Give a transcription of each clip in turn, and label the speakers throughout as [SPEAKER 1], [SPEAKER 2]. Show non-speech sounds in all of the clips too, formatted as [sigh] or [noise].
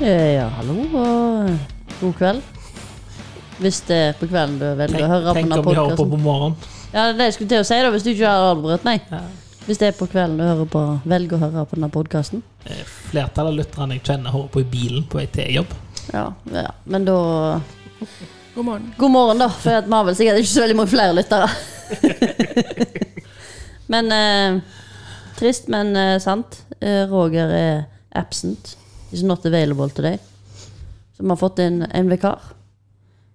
[SPEAKER 1] Eh, Ja, hallo og god kveld. Hvis det er på kvelden du velger å høre på
[SPEAKER 2] Tenk
[SPEAKER 1] denne
[SPEAKER 2] om de hører på
[SPEAKER 1] podkasten.
[SPEAKER 2] på morgenen.
[SPEAKER 1] Ja, det er det jeg skulle til å si, da, hvis du ikke har avbrutt meg.
[SPEAKER 2] Ja.
[SPEAKER 1] Hvis det er på kvelden du hører på, velger å høre på denne podkasten.
[SPEAKER 2] Eh, Flertallet av lytterne jeg kjenner, hører på i bilen på vei til jobb.
[SPEAKER 1] Ja, ja, men da
[SPEAKER 3] God morgen.
[SPEAKER 1] God morgen, da, for at vi har vel sikkert ikke så veldig mange flere lyttere. [laughs] men eh, trist, men eh, sant. Eh, Roger er absent. Is not available today. Så vi har fått inn en vikar.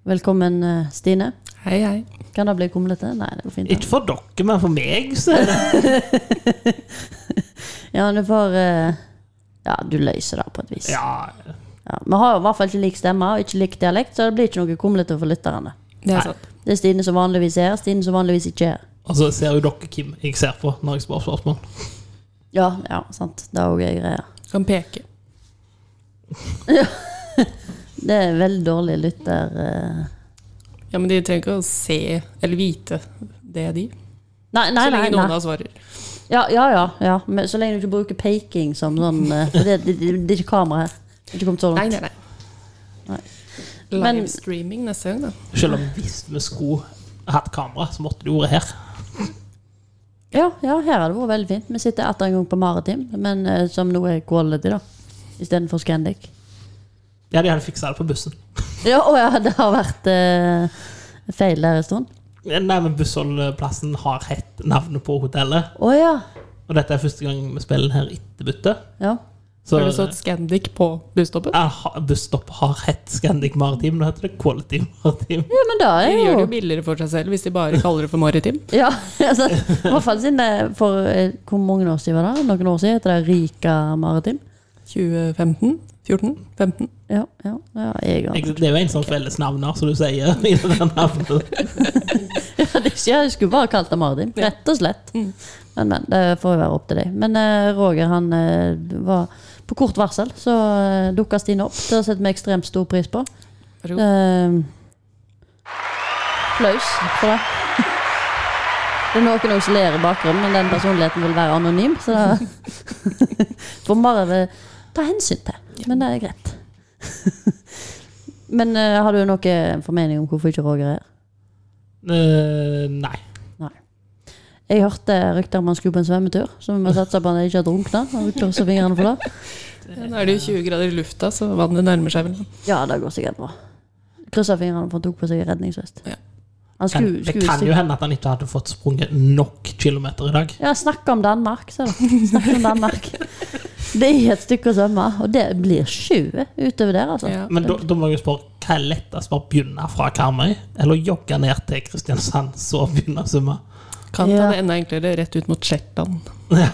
[SPEAKER 1] Velkommen, eh, Stine.
[SPEAKER 3] Hei, hei.
[SPEAKER 1] Kan det bli kumlete? Nei, det går fint.
[SPEAKER 2] Ikke for dere, men for meg. Så. er det-
[SPEAKER 1] Ja, du får eh, Ja, du løser det på et vis.
[SPEAKER 2] Ja,
[SPEAKER 1] Ja, Vi har jo i hvert fall ikke lik stemme og ikke lik dialekt, så det blir ikke noe kumlete for lytterne.
[SPEAKER 3] Det
[SPEAKER 2] Hei.
[SPEAKER 3] er sant.
[SPEAKER 1] Det er Stine som vanligvis er her, Stine som vanligvis ikke er her.
[SPEAKER 2] Og så Altså, ser jo dere hvem jeg ser på når jeg spør spørsmål.
[SPEAKER 1] Ja, ja, sant. Det er òg ei greie.
[SPEAKER 3] Kan peke.
[SPEAKER 1] Det er veldig dårlig lytter... eh.
[SPEAKER 3] Ja, men de trenger ikke å se eller vite det, de.
[SPEAKER 1] Nei, nei,
[SPEAKER 3] Så
[SPEAKER 1] nei.
[SPEAKER 3] lenge noen
[SPEAKER 1] nei.
[SPEAKER 3] av oss svarer.
[SPEAKER 1] Ja, ja, ja, ja. Men så lenge du ikke bruker peking som sånn eh, For det, det, det, det er ikke kamera her. Det er Ikke kommet så
[SPEAKER 3] Nei,
[SPEAKER 1] langt.
[SPEAKER 3] nei, nei.
[SPEAKER 1] Nei. Men-
[SPEAKER 3] Livestreaming neste gang, da.
[SPEAKER 2] Selv om hvis vi skulle hatt kamera, så måtte det jo vært her.
[SPEAKER 1] Ja, ja, her har det vært veldig fint. Vi sitter atter en gang på Maritim, men eh, som nå er quality, da. Istedenfor Scandic.
[SPEAKER 2] Ja, de hadde fiksa det på bussen.
[SPEAKER 1] Ja, å ja, det har vært eh, feil der en stund.
[SPEAKER 2] Nei, men Bussholdplassen har hett navnet på hotellet.
[SPEAKER 1] Å ja.
[SPEAKER 2] Og dette er første gang vi spiller den her etter byttet.
[SPEAKER 1] ja.
[SPEAKER 2] Så,
[SPEAKER 3] Har du så Scandic på busstoppet?
[SPEAKER 2] Ja, ha- busstopp har hett Scandic Maritim. Nå heter det Quality Maritim.
[SPEAKER 1] Ja, men da
[SPEAKER 3] De
[SPEAKER 1] er
[SPEAKER 3] gjør det
[SPEAKER 1] jo
[SPEAKER 3] jo billigere for seg selv hvis de bare kaller det for maritim.
[SPEAKER 1] Ja, [laughs] altså, i hvert fall siden det for eh, hvor mange år siden var det? Noen år siden heter det Rika Maritim.
[SPEAKER 3] 2015? 14? 15?
[SPEAKER 1] Ja, ja, ja jeg har
[SPEAKER 2] Jeg- Det er jo en sånn felles navn her, som du sier. [laughs] i den navnet.
[SPEAKER 1] Ja, det- Jeg skulle bare kalt det Maritim, rett og slett.
[SPEAKER 3] Mm.
[SPEAKER 1] Men, men, det får jo være opp til deg. Men eh, Roger, han eh, var På kort varsel så eh, dukka Stine opp. Det setter vi ekstremt stor pris på.
[SPEAKER 3] Vær så god.
[SPEAKER 1] Eh, Applaus for det. Det er noen også som ler i bakgrunnen, men den personligheten vil være anonym. Så det [laughs] får man bare ved- ta hensyn til. Men det er greit. Men eh, har du noen formening om hvorfor ikke Roger er her?
[SPEAKER 2] Eh, Nei.
[SPEAKER 1] Jeg hørte rykter om han skulle på en svømmetur, så vi må satse på at han ikke har drukna. Han krysser fingrene for det.
[SPEAKER 3] Ja, Nå er det jo 20 grader i lufta, så vannet nærmer seg vel.
[SPEAKER 1] Ja, det går sikkert bra. Kryssa fingrene for han tok på seg redningsvest.
[SPEAKER 3] Ja.
[SPEAKER 1] Han
[SPEAKER 2] Kan,
[SPEAKER 1] skulle,
[SPEAKER 2] det
[SPEAKER 1] skulle
[SPEAKER 2] kan jo hende at han ikke hadde fått sprunget nok kilometer i dag.
[SPEAKER 1] Ja, snakk om Danmark, ser du. Snakk om Danmark. Det er et stykke å svømme, og det blir 20 utover der, altså.
[SPEAKER 3] Ja.
[SPEAKER 2] Men da, da må jeg jo spørre, hva er lettest å begynne fra Karmøy, eller jogge ned til Kristiansand, [laughs] så begynne å svømme?
[SPEAKER 3] Kan ta
[SPEAKER 1] Ja.
[SPEAKER 3] det enda enklere rett ut mot Shetland.
[SPEAKER 2] Ja.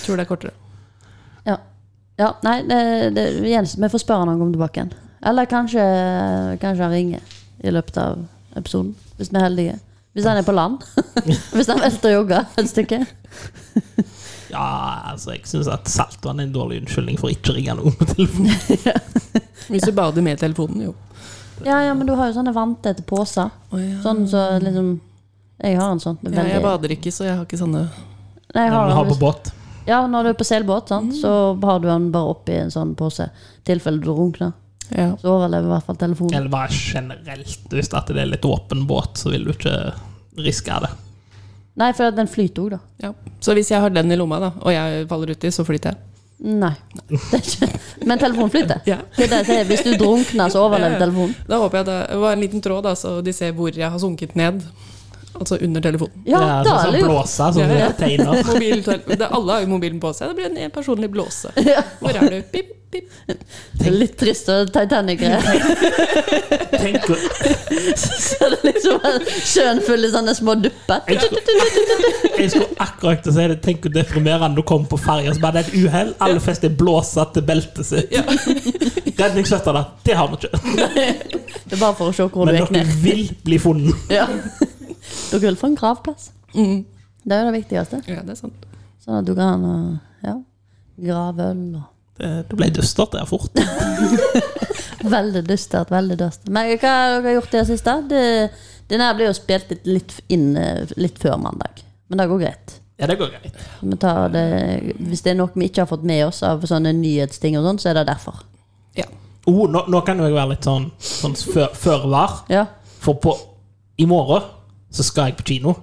[SPEAKER 3] Tror det er kortere.
[SPEAKER 1] Ja, ja nei, det, det, Jens, vi får spørre han om han kommer tilbake igjen. Eller kanskje, kanskje han ringer i løpet av episoden, hvis vi er heldige. Hvis han er på land. [laughs] hvis han velter å jogge et stykke.
[SPEAKER 2] ja, altså, jeg syns at saltvann er en dårlig unnskyldning for ikke å ringe noen på telefonen.
[SPEAKER 3] Hvis du bader med telefonen, jo.
[SPEAKER 1] Ja, ja, men du har jo sånne vanntette poser. Sånn så liksom Jeg har en sånn. det er
[SPEAKER 3] Ja, jeg
[SPEAKER 1] veldig-
[SPEAKER 3] bader ikke, så jeg har ikke sånne
[SPEAKER 1] Nei, jeg
[SPEAKER 2] Ja,
[SPEAKER 1] har
[SPEAKER 2] men
[SPEAKER 1] den
[SPEAKER 2] ha på
[SPEAKER 1] hvis-
[SPEAKER 2] båt.
[SPEAKER 1] Ja, når du er på seilbåt, sant,
[SPEAKER 3] Mm.
[SPEAKER 1] så har du den bare oppi en sånn pose. I tilfelle du runkner.
[SPEAKER 3] ja.
[SPEAKER 1] Så overlever i hvert fall telefonen.
[SPEAKER 2] Eller bare generelt, hvis at det er litt åpen båt, så vil du ikke riske det.
[SPEAKER 1] Nei, for at den flyter òg, da.
[SPEAKER 3] Ja. Så hvis jeg har den i lomma, da, og jeg faller uti, så flyter jeg.
[SPEAKER 1] Nei. [laughs] Det er ikke. Men telefonen flyter.
[SPEAKER 3] Ja.
[SPEAKER 1] Det er det jeg sier. Hvis du drukner, så overlever telefonen.
[SPEAKER 3] Da håper jeg det det var en liten tråd, da, så de ser hvor jeg har sunket ned. Altså under telefonen.
[SPEAKER 1] Ja,
[SPEAKER 2] det er
[SPEAKER 1] da
[SPEAKER 2] sånn
[SPEAKER 1] er
[SPEAKER 2] som
[SPEAKER 1] det jo
[SPEAKER 2] blåse, som
[SPEAKER 3] Ja,
[SPEAKER 2] ja,
[SPEAKER 3] ja.
[SPEAKER 2] tegner.
[SPEAKER 3] Mobiltel- det, alle har jo mobilen på seg. Det blir en personlig blåse.
[SPEAKER 1] [laughs] Ja.
[SPEAKER 3] Hvor er du? Pip, pip.
[SPEAKER 1] Det er Litt trist og Titanic-greier.
[SPEAKER 2] Tenk,
[SPEAKER 1] Så det er liksom en sjøen full i sånne små dupper.
[SPEAKER 2] jeg, skulle, [laughs] jeg skulle akkurat til å si det. Tenk hvor deprimerende du kommer på ferja, så bare det er et uhell. Alle fester blåse til beltet sitt.
[SPEAKER 3] Ja.
[SPEAKER 2] [laughs] Redningsvester, da. Det har vi ikke.
[SPEAKER 1] Det er bare for å se hvor du
[SPEAKER 2] Men
[SPEAKER 1] gikk ned.
[SPEAKER 2] dere vil bli funnet.
[SPEAKER 1] Ja. [laughs] Dere vil få en gravplass.
[SPEAKER 3] Mm.
[SPEAKER 1] Det er jo det viktigste.
[SPEAKER 3] ja, det er sant.
[SPEAKER 1] Sånn at du kan uh, ja, grave øl og
[SPEAKER 2] Det, det ble dystert der fort.
[SPEAKER 1] Veldig dystert, veldig dystert. Men hva har dere gjort i det siste? Det, den her blir jo spilt litt, litt inn eh, litt før mandag, men det går greit.
[SPEAKER 2] Ja, det går greit.
[SPEAKER 1] Vi tar det, hvis det er noe vi ikke har fått med oss av sånne nyhetsting, og sånn, så er det derfor.
[SPEAKER 3] Ja.
[SPEAKER 2] Oh, nå, nå kan jo jeg være litt sånn, sånn før, før var.
[SPEAKER 1] Ja.
[SPEAKER 2] For på, i morgen så skal jeg på kino.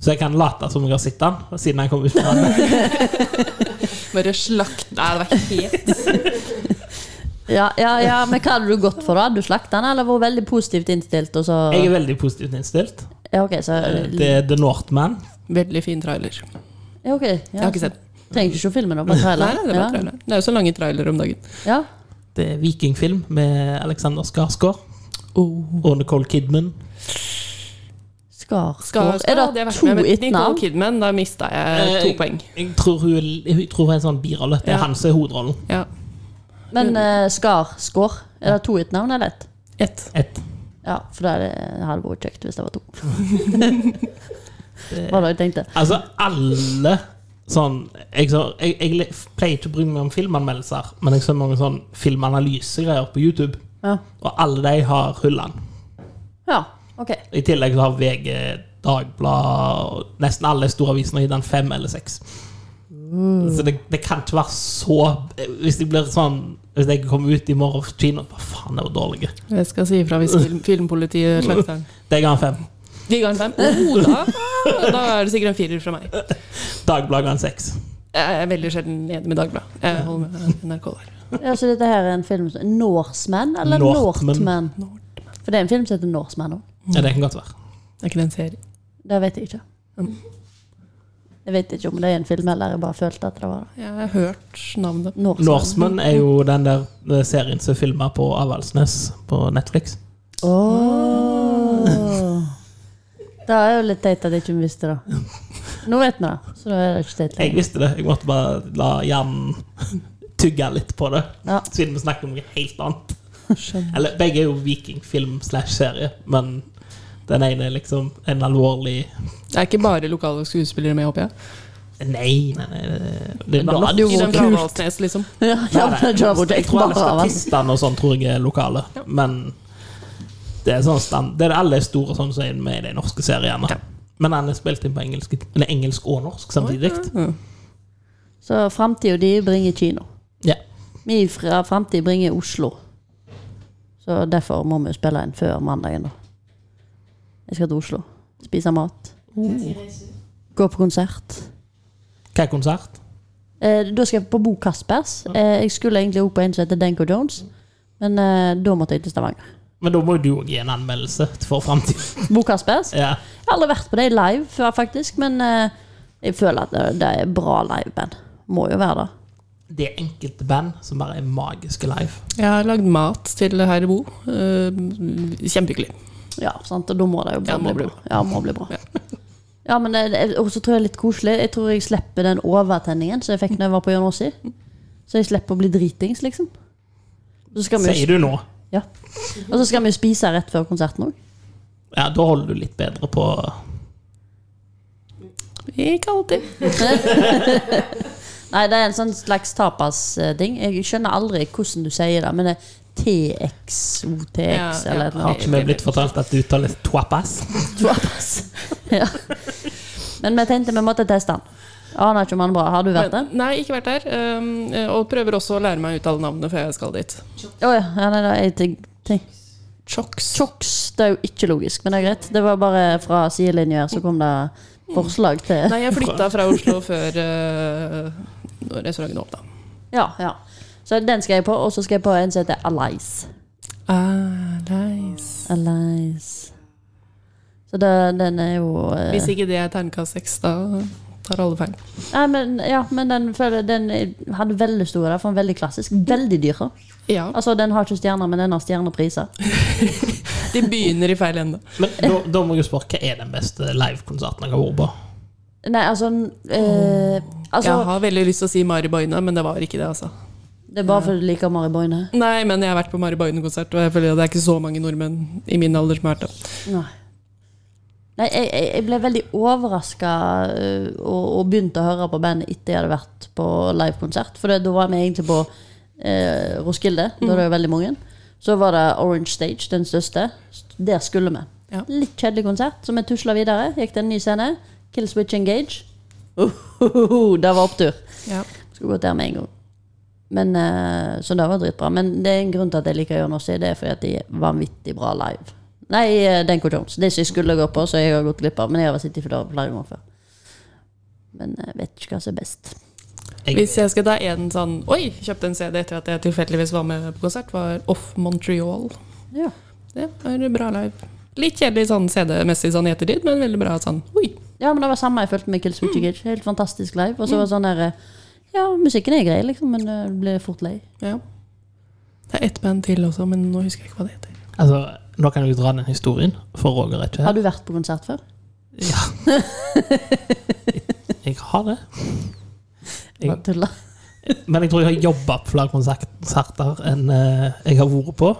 [SPEAKER 2] Så jeg kan late som jeg har sett den, siden han kom ut. fra den.
[SPEAKER 3] Bare slakt Nei, det var helt
[SPEAKER 1] Ja, ja, ja, men hva hadde du gått for da? Hadde Du slakta den, eller vært veldig positivt innstilt? Og så...
[SPEAKER 2] Jeg er veldig positivt innstilt.
[SPEAKER 1] Ja, ok, så...
[SPEAKER 3] Eh,
[SPEAKER 2] Det er The Northman.
[SPEAKER 3] Veldig fin trailer. Jeg
[SPEAKER 1] Ja, ok, ja.
[SPEAKER 3] har ikke sett den.
[SPEAKER 1] Trenger ikke å se filmen nå, bare
[SPEAKER 3] Nei,
[SPEAKER 1] traileren.
[SPEAKER 3] det var trailer. Det er jo så lange trailere om dagen.
[SPEAKER 1] Ja. ja.
[SPEAKER 2] Det er vikingfilm med Alexander Skarsgård
[SPEAKER 3] Oh.
[SPEAKER 2] og Nicole Kidman.
[SPEAKER 1] Skarsgård.
[SPEAKER 3] Skarsgård
[SPEAKER 1] Er
[SPEAKER 3] hadde
[SPEAKER 1] det
[SPEAKER 3] jeg vært
[SPEAKER 1] to
[SPEAKER 3] med, men Nicole
[SPEAKER 1] etternavn?
[SPEAKER 3] Kidman, da mista jeg
[SPEAKER 2] Eh,
[SPEAKER 3] to poeng.
[SPEAKER 2] Jeg tror hun, jeg tror hun er en sånn birolle. Det er
[SPEAKER 3] Ja.
[SPEAKER 2] han som er hovedrollen.
[SPEAKER 3] Ja.
[SPEAKER 1] Men eh, Skarsgård, er det to etternavn eller ett?
[SPEAKER 3] Ett.
[SPEAKER 2] Et.
[SPEAKER 1] Ja, for det eh, er- det hadde vært kjekt hvis det var [laughs] to. Hva da jeg tenkte?
[SPEAKER 2] Altså, alle sånn Jeg, så, jeg, jeg le- pleier ikke å bry meg om filmanmeldelser, men jeg ser mange sånn filmanalysegreier på YouTube,
[SPEAKER 1] Ja.
[SPEAKER 2] og alle de har Hulland.
[SPEAKER 1] ja, ok.
[SPEAKER 2] I tillegg så har VG, Dagbladet og Nesten alle store avisene har gitt den fem eller seks.
[SPEAKER 3] Mm.
[SPEAKER 2] Så det, det kan ikke være så Hvis jeg blir sånn Hvis jeg kommer ut i morgen fra kino Hva faen, det var dårlig.
[SPEAKER 3] Jeg skal si ifra hvis film, filmpolitiet slakter [laughs] den.
[SPEAKER 2] Jeg har en fem.
[SPEAKER 3] De ga en fem. Oh, da. da er det sikkert en firer fra meg.
[SPEAKER 2] Dagbladet ga en seks.
[SPEAKER 3] Jeg er veldig sjelden enig med Dagbladet. Jeg holder med NRK der.
[SPEAKER 1] Ja, så dette her er en film som Norseman, eller
[SPEAKER 2] Northman.
[SPEAKER 1] Northman? For det er en film som heter Norseman òg.
[SPEAKER 2] Ja, det kan godt være.
[SPEAKER 3] Det er ikke det en serie.
[SPEAKER 1] Det vet jeg ikke.
[SPEAKER 3] Mm.
[SPEAKER 1] Jeg vet ikke om det er en film, eller jeg bare følte at det var det.
[SPEAKER 3] Jeg har hørt navnet.
[SPEAKER 1] Norseman.
[SPEAKER 2] Norseman er jo den der eh, serien som er filma på Avaldsnes på Netflix.
[SPEAKER 1] Åh. Det er jo litt teit at jeg ikke visste det. Nå vet vi det, så da er det ikke teit
[SPEAKER 2] Jeg
[SPEAKER 1] lenger.
[SPEAKER 2] visste det. Jeg måtte bare la hjernen [laughs] tygge litt på det.
[SPEAKER 1] Ja.
[SPEAKER 2] Siden vi snakker om noe helt annet.
[SPEAKER 3] Skjønner.
[SPEAKER 2] Eller begge er jo vikingfilm slash serie, men den ene er liksom en alvorlig
[SPEAKER 3] Det er ikke bare lokale skuespillere med, håper jeg.
[SPEAKER 2] Nei, nei, nei. det- Det er
[SPEAKER 1] Da hadde
[SPEAKER 2] bare
[SPEAKER 1] jo
[SPEAKER 3] I den
[SPEAKER 1] vært
[SPEAKER 3] fra
[SPEAKER 1] kult.
[SPEAKER 3] Valsnes, liksom.
[SPEAKER 1] Ja, ja, men det
[SPEAKER 2] Nei,
[SPEAKER 1] gjør
[SPEAKER 2] nei.
[SPEAKER 1] det
[SPEAKER 2] Jeg
[SPEAKER 1] ikke
[SPEAKER 2] tror alle
[SPEAKER 1] bare av oss.
[SPEAKER 2] statistene og sånn tror jeg er lokale, men det er sånn stand, det er alle store sånn som er med i de norske seriene.
[SPEAKER 3] Ja.
[SPEAKER 2] Men han er spilt inn på engelsk, eller engelsk og norsk samtidig.
[SPEAKER 3] Mm.
[SPEAKER 1] Så framtida di bringer kino.
[SPEAKER 2] Ja.
[SPEAKER 1] Min fra framtid bringer Oslo. Så derfor må vi jo spille inn før mandagen, da. Jeg skal til Oslo. Spise mat. Gå på konsert.
[SPEAKER 2] Hva er konsert?
[SPEAKER 1] Eh, da skal jeg på Bo Kaspers. Eh, jeg skulle egentlig også på en som heter Denko Jones, men eh, da måtte jeg til Stavanger.
[SPEAKER 2] Men da må jo du òg gi en anmeldelse for framtiden.
[SPEAKER 1] Bo Kaspers.
[SPEAKER 2] [laughs] Ja.
[SPEAKER 1] Jeg har aldri vært på det live før, faktisk, men eh, jeg føler at det- det er bra liveband. Må jo være det.
[SPEAKER 2] Det er enkelte band som bare er magiske live.
[SPEAKER 3] Jeg har lagd mat til herr Bo. Eh, Kjempehyggelig.
[SPEAKER 1] Ja, sant? og da må det jo
[SPEAKER 3] Ja,
[SPEAKER 1] bare
[SPEAKER 3] må
[SPEAKER 1] bli
[SPEAKER 3] bli
[SPEAKER 1] bra. Ja, må bli bra. [laughs] Ja, men det- det- Og så tror jeg litt koselig. Jeg tror jeg slipper den overtenningen som jeg fikk når jeg var på Jørn Aasi. Så jeg slipper å bli dritings, liksom. Så skal vi,
[SPEAKER 2] Sier du nå?
[SPEAKER 1] ja. Og så skal vi jo spise rett før konserten òg.
[SPEAKER 2] Ja, da holder du litt bedre på
[SPEAKER 3] Ikke alltid.
[SPEAKER 1] Nei, det er en sånn slags tapas-ting. Jeg skjønner aldri hvordan du sier det, men det er TX, OTX
[SPEAKER 3] Ja,
[SPEAKER 1] eller
[SPEAKER 3] ja.
[SPEAKER 1] et eller
[SPEAKER 2] Har [laughs]
[SPEAKER 1] annet.
[SPEAKER 2] ikke vi blitt fortalt at du uttaler twapass?
[SPEAKER 1] Tapas. [laughs] Ja. Men vi tenkte vi måtte teste den. Aner ikke om den er bra. Har du vært der?
[SPEAKER 3] Men- Nei, ikke vært der. Um, og prøver også å lære meg å uttale navnet før jeg skal dit.
[SPEAKER 1] Å ja. ja. Nei, da, jeg tenk, tenk.
[SPEAKER 3] Chox.
[SPEAKER 1] Choks, det er jo ikke logisk, men det er greit. Det var bare fra sidelinjer så kom det forslag til
[SPEAKER 3] Nei, jeg flytta fra Oslo før uh, når restauranten åpna.
[SPEAKER 1] Ja, ja. Så den skal jeg på, og så skal jeg på en som heter Alice.
[SPEAKER 3] Ah, nice.
[SPEAKER 1] Alice. Så det, den er jo eh,
[SPEAKER 3] Hvis ikke det er terningkast seks, da tar alle feil.
[SPEAKER 1] Nei, men, ja, men den, føler, den er- hadde veldig store, for den er veldig klassisk. Veldig dyr.
[SPEAKER 3] Ja,
[SPEAKER 1] Altså, den har ikke stjerner, men den har stjernepriser.
[SPEAKER 3] de begynner i feil ende.
[SPEAKER 2] Men da, da må jeg jo spørre, hva er den beste livekonserten jeg har vært på?
[SPEAKER 1] Nei, altså eh, Altså,
[SPEAKER 3] jeg har veldig lyst til å si Mari Boine, men det var ikke det, altså.
[SPEAKER 1] det er bare fordi du liker Mari Boine.
[SPEAKER 3] Nei, men jeg har vært på Mari Boine-konsert, og jeg føler at det er ikke så mange nordmenn i min alder som har vært det.
[SPEAKER 1] Nei. Nei, jeg, jeg jeg ble veldig overraska og, og begynte å høre på bandet etter jeg hadde vært på livekonsert. For det, da var vi egentlig på eh, Roskilde, da var det jo veldig mange. Så var det Orange Stage, den største. Der skulle vi.
[SPEAKER 3] Ja.
[SPEAKER 1] Litt kjedelig konsert, så vi tusla videre. Gikk til en ny scene. Kill Switch Engage. det var opptur.
[SPEAKER 3] Ja.
[SPEAKER 1] Skulle gått der med en gang. Men, eh, så det var dritbra. Men det er en grunn til at jeg liker Jørn Aassi. Det er fordi at de er vanvittig bra live. Nei, eh, Denko Jones. Det som jeg skulle gå på, så jeg har gått glipp av. Men jeg har sittet for det flere ganger før. Men jeg vet ikke hva som er best.
[SPEAKER 2] Jeg,
[SPEAKER 3] Hvis jeg skal ta en sånn Oi, kjøpte en CD etter at jeg tilfeldigvis var med på konsert, var Off Montreal.
[SPEAKER 1] Ja.
[SPEAKER 3] Det var bra live. Litt kjedelig sånn CD-messig sånn i ettertid, men veldig bra sånn Oi.
[SPEAKER 1] Ja, men det var samme jeg følte med Killswitch
[SPEAKER 2] Mm.
[SPEAKER 1] Engage. Helt fantastisk live. Og så var det sånn der eh, Ja, musikken er grei, liksom, men eh, du blir fort lei.
[SPEAKER 3] Ja. Det er ett band til også, men nå husker jeg ikke hva det heter.
[SPEAKER 2] altså, nå kan jeg jo dra den historien, for Roger er ikke
[SPEAKER 1] Har
[SPEAKER 2] her.
[SPEAKER 1] du vært på konsert før?
[SPEAKER 2] Ja. Jeg, jeg har det. Jeg-
[SPEAKER 1] Bare tulla.
[SPEAKER 2] Men jeg tror jeg har jobba på flere konserter enn eh, jeg har vært på.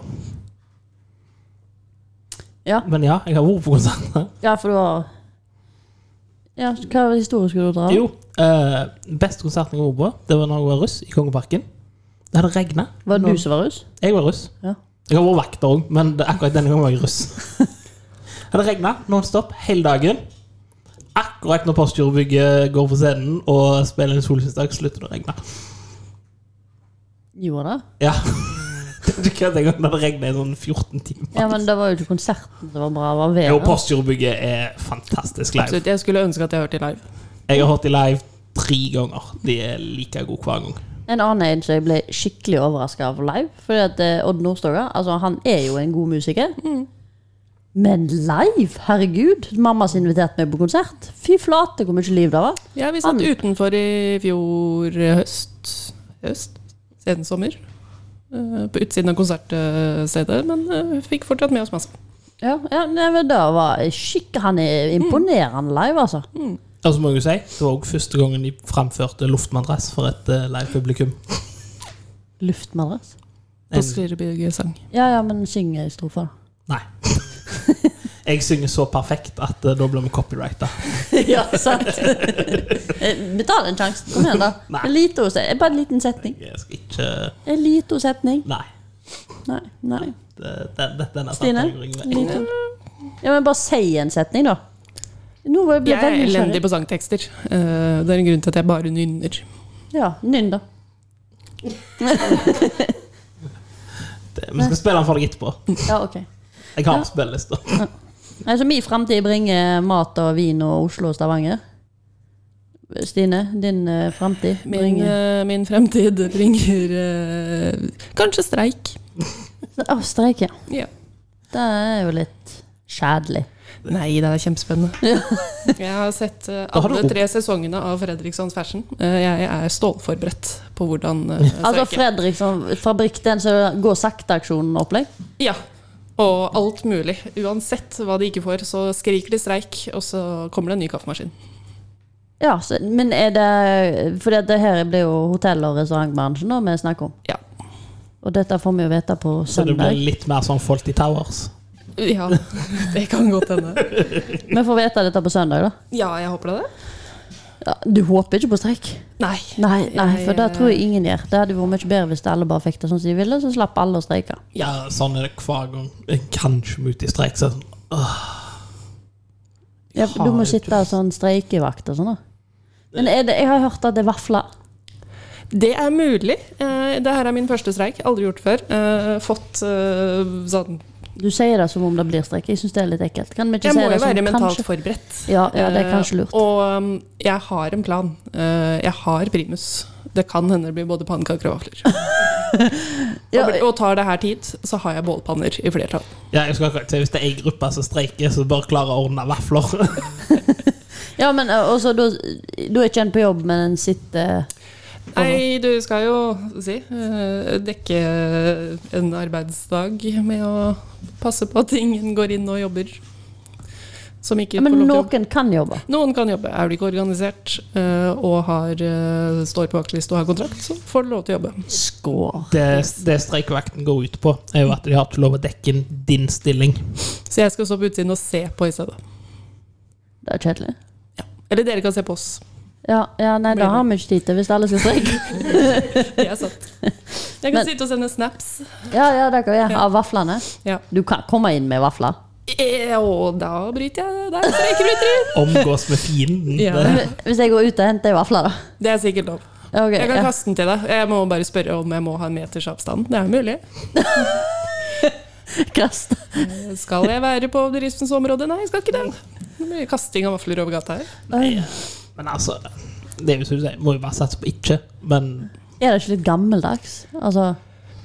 [SPEAKER 1] Ja.
[SPEAKER 2] Men ja, jeg har vært på konserter.
[SPEAKER 1] ja, for du har Ja, hva historie skulle du dra?
[SPEAKER 2] Jo, eh, beste konserten jeg har vært på, det var når jeg var russ i Kongeparken. Det hadde regna.
[SPEAKER 1] Var det du som var russ?
[SPEAKER 2] Jeg var russ.
[SPEAKER 1] Ja.
[SPEAKER 2] Jeg har vært vakter òg, men det- akkurat denne gangen var
[SPEAKER 1] [laughs]
[SPEAKER 2] jeg russ. Det hadde regna nonstop hele dagen. Akkurat når Postgirobygget går på scenen og spiller en solsynsdag, slutter det å regne.
[SPEAKER 1] Gjorde det?
[SPEAKER 2] Ja. [laughs] Du kan tenke deg at det regner i sånn 14 timer.
[SPEAKER 1] Ja, men det var jo ikke konserten som var bra, det var været.
[SPEAKER 2] Jo, Postgirobygget er fantastisk live.
[SPEAKER 3] Absolutt, Jeg skulle ønske at jeg hørte det live.
[SPEAKER 2] Jeg har hørt de live tre ganger. De er like gode hver gang.
[SPEAKER 1] En annen en som jeg ble skikkelig overraska av live. Fordi at eh, Odd Nordstoga altså, han er jo en god musiker. Men live? Herregud! Mamma som inviterte meg på konsert. Fy flate hvor mye liv det var.
[SPEAKER 3] Ja, vi satt
[SPEAKER 1] Han-
[SPEAKER 3] utenfor i fjor eh, høst. Høst? Siden sommer. Eh, På utsiden av konsertstedet, men eh, fikk fortsatt med oss masse.
[SPEAKER 1] Ja, Mm. ja nei, men det var skikk, Han er imponerende live, altså.
[SPEAKER 2] Og så må jeg jo si, det var også første gangen de framførte luftmadrass for et eh, live publikum.
[SPEAKER 1] Luftmadrass.
[SPEAKER 3] På Skrirebyggesang.
[SPEAKER 1] Ja, ja, men syng i strofa, da.
[SPEAKER 2] Nei. [laughs] Jeg synger så perfekt at eh, da blir vi copyrighta.
[SPEAKER 1] [laughs] ja, sant? Eh, Vi tar den sjansen. Kom igjen, da.
[SPEAKER 2] Nei.
[SPEAKER 1] En liten, se- bare en liten setning.
[SPEAKER 2] Jeg skal ikke
[SPEAKER 1] En liten setning.
[SPEAKER 2] Nei.
[SPEAKER 1] Nei. nei.
[SPEAKER 2] Det- det- det- Denne
[SPEAKER 1] Stine?
[SPEAKER 2] samtalen ringer
[SPEAKER 1] En
[SPEAKER 2] meg.
[SPEAKER 1] liten. Ja, men bare si en setning, da. Nå ble jeg
[SPEAKER 3] Jeg er
[SPEAKER 1] veldig
[SPEAKER 3] elendig
[SPEAKER 1] nysgjerrig.
[SPEAKER 3] på sangtekster. Eh, Det er en grunn til at jeg bare nynner.
[SPEAKER 1] Ja, nynn, da.
[SPEAKER 2] Det- Vi skal spille den for deg etterpå.
[SPEAKER 1] eh, Ja, ok.
[SPEAKER 2] Jeg har spillelista.
[SPEAKER 1] Altså, min framtid bringer mat og vin og Oslo og Stavanger. Stine, din uh, framtid
[SPEAKER 3] Min,
[SPEAKER 1] bringer
[SPEAKER 3] eh, min fremtid bringer eh, kanskje streik. eh,
[SPEAKER 1] Å, streik, ja.
[SPEAKER 3] Ja.
[SPEAKER 1] Det er jo litt kjedelig.
[SPEAKER 3] Nei, det er [laughs] kjempespennende. Jeg har sett eh,
[SPEAKER 2] har du
[SPEAKER 3] alle
[SPEAKER 2] opp-
[SPEAKER 3] tre sesongene av Fredrikssons Fashion. Eh, Jeg er stålforberedt på hvordan eh,
[SPEAKER 1] Altså
[SPEAKER 3] streike.
[SPEAKER 1] Fredriksson fabrikk, den som går liksom. sakte-aksjonen opplegg?
[SPEAKER 3] Ja. Og alt mulig. Uansett hva de ikke får, så skriker de streik, og så kommer det en ny kaffemaskin.
[SPEAKER 1] Ja, så, men er det For det her blir jo hotell- og restaurantbransjen da vi snakker om.
[SPEAKER 3] Ja.
[SPEAKER 1] Og dette får vi jo vite på
[SPEAKER 2] Så det blir
[SPEAKER 1] søndag.
[SPEAKER 2] litt mer sånn Faulty Towers.
[SPEAKER 3] Ja, [laughs] det kan godt hende.
[SPEAKER 1] Vi får vite dette på søndag, da.
[SPEAKER 3] Ja, jeg håper det.
[SPEAKER 1] Ja, du håper ikke på streik?
[SPEAKER 3] Nei.
[SPEAKER 1] Nei, nei, for det
[SPEAKER 3] Jeg-
[SPEAKER 1] tror jeg eh, ingen gjør. Det hadde vært mye bedre hvis alle bare fikk det sånn som de ville, så slapp alle å streike.
[SPEAKER 2] Ja, sånn er det hver gang. Jeg kan ikke ut i streik. så sånn,
[SPEAKER 1] Ja, for du må sitte og sånn streikevakt og sånn, da. Men er det, jeg har hørt at det er vafler.
[SPEAKER 3] Det er mulig. Eh, Det her er min første streik. Aldri gjort før. Eh, Fått eh, sånn
[SPEAKER 1] Du sier det som om det blir streik. Jeg syns det er litt ekkelt. Kan vi ikke
[SPEAKER 3] Jeg
[SPEAKER 1] si
[SPEAKER 3] må
[SPEAKER 1] det
[SPEAKER 3] jo
[SPEAKER 1] som
[SPEAKER 3] være mentalt
[SPEAKER 1] kanskje?
[SPEAKER 3] forberedt.
[SPEAKER 1] Ja, ja, det er kanskje
[SPEAKER 3] Eh,
[SPEAKER 1] lurt.
[SPEAKER 3] Og um, jeg har en plan. Eh, Jeg har primus. Det kan hende det blir både pannekaker og
[SPEAKER 1] [laughs]
[SPEAKER 3] vafler.
[SPEAKER 1] Ja, eh.
[SPEAKER 3] Og blir- Og tar det her tid, så har jeg bålpanner i flertall.
[SPEAKER 2] Ja, jeg skal akkurat si, Hvis det er ei gruppe som streiker, så bør klare å ordne vafler. [laughs]
[SPEAKER 1] ja, men eh, også, da da er ikke en på jobb, men en sitter
[SPEAKER 3] Nei, du skal jo si eh, dekke en arbeidsdag med å passe på at ingen går inn og jobber. Som ikke
[SPEAKER 1] ja,
[SPEAKER 3] får
[SPEAKER 1] Men
[SPEAKER 3] lov til å jobbe.
[SPEAKER 1] noen kan jobbe.
[SPEAKER 3] Noen kan jobbe. Er du ikke organisert eh, og har, eh, står på vaktliste og har kontrakt, så får du lov til å jobbe.
[SPEAKER 1] Skår.
[SPEAKER 2] Det, det streikevakten går ut på, er jo at de har ikke lov å dekke inn din stilling.
[SPEAKER 3] Så jeg skal stå på utsiden og se på i stedet.
[SPEAKER 1] Det er kjedelig.
[SPEAKER 3] Eller dere kan se på oss.
[SPEAKER 1] Ja, ja nei, det har vi ikke tid til hvis alle skal
[SPEAKER 3] [laughs]
[SPEAKER 1] streike.
[SPEAKER 3] Det er sant. Jeg kan
[SPEAKER 1] Men-
[SPEAKER 3] sitte og sende snaps.
[SPEAKER 1] Ja, ja, det kan vi gjøre. Av vaflene.
[SPEAKER 3] Ja.
[SPEAKER 1] Du kan komme inn med vafler.
[SPEAKER 3] Eh, Og da bryter jeg Der streikebryter!
[SPEAKER 2] Omgås med fienden.
[SPEAKER 3] Ja.
[SPEAKER 2] Det-
[SPEAKER 1] Hvis jeg går ut og henter ei vafle, da.
[SPEAKER 3] Det er sikkert lov.
[SPEAKER 1] Ja, ok,
[SPEAKER 3] Jeg kan
[SPEAKER 1] ja.
[SPEAKER 3] kaste den til deg. Jeg må bare spørre om jeg må ha en meters avstand. Det er mulig.
[SPEAKER 1] [laughs] Kast.
[SPEAKER 3] Skal jeg være på bedriftens område? Nei, jeg skal ikke det. Det blir kasting av vafler over gata her.
[SPEAKER 2] Nei, men altså Det er jo som du sier, må jo bare satse på ikke. Men
[SPEAKER 1] Er det ikke litt gammeldags? Altså,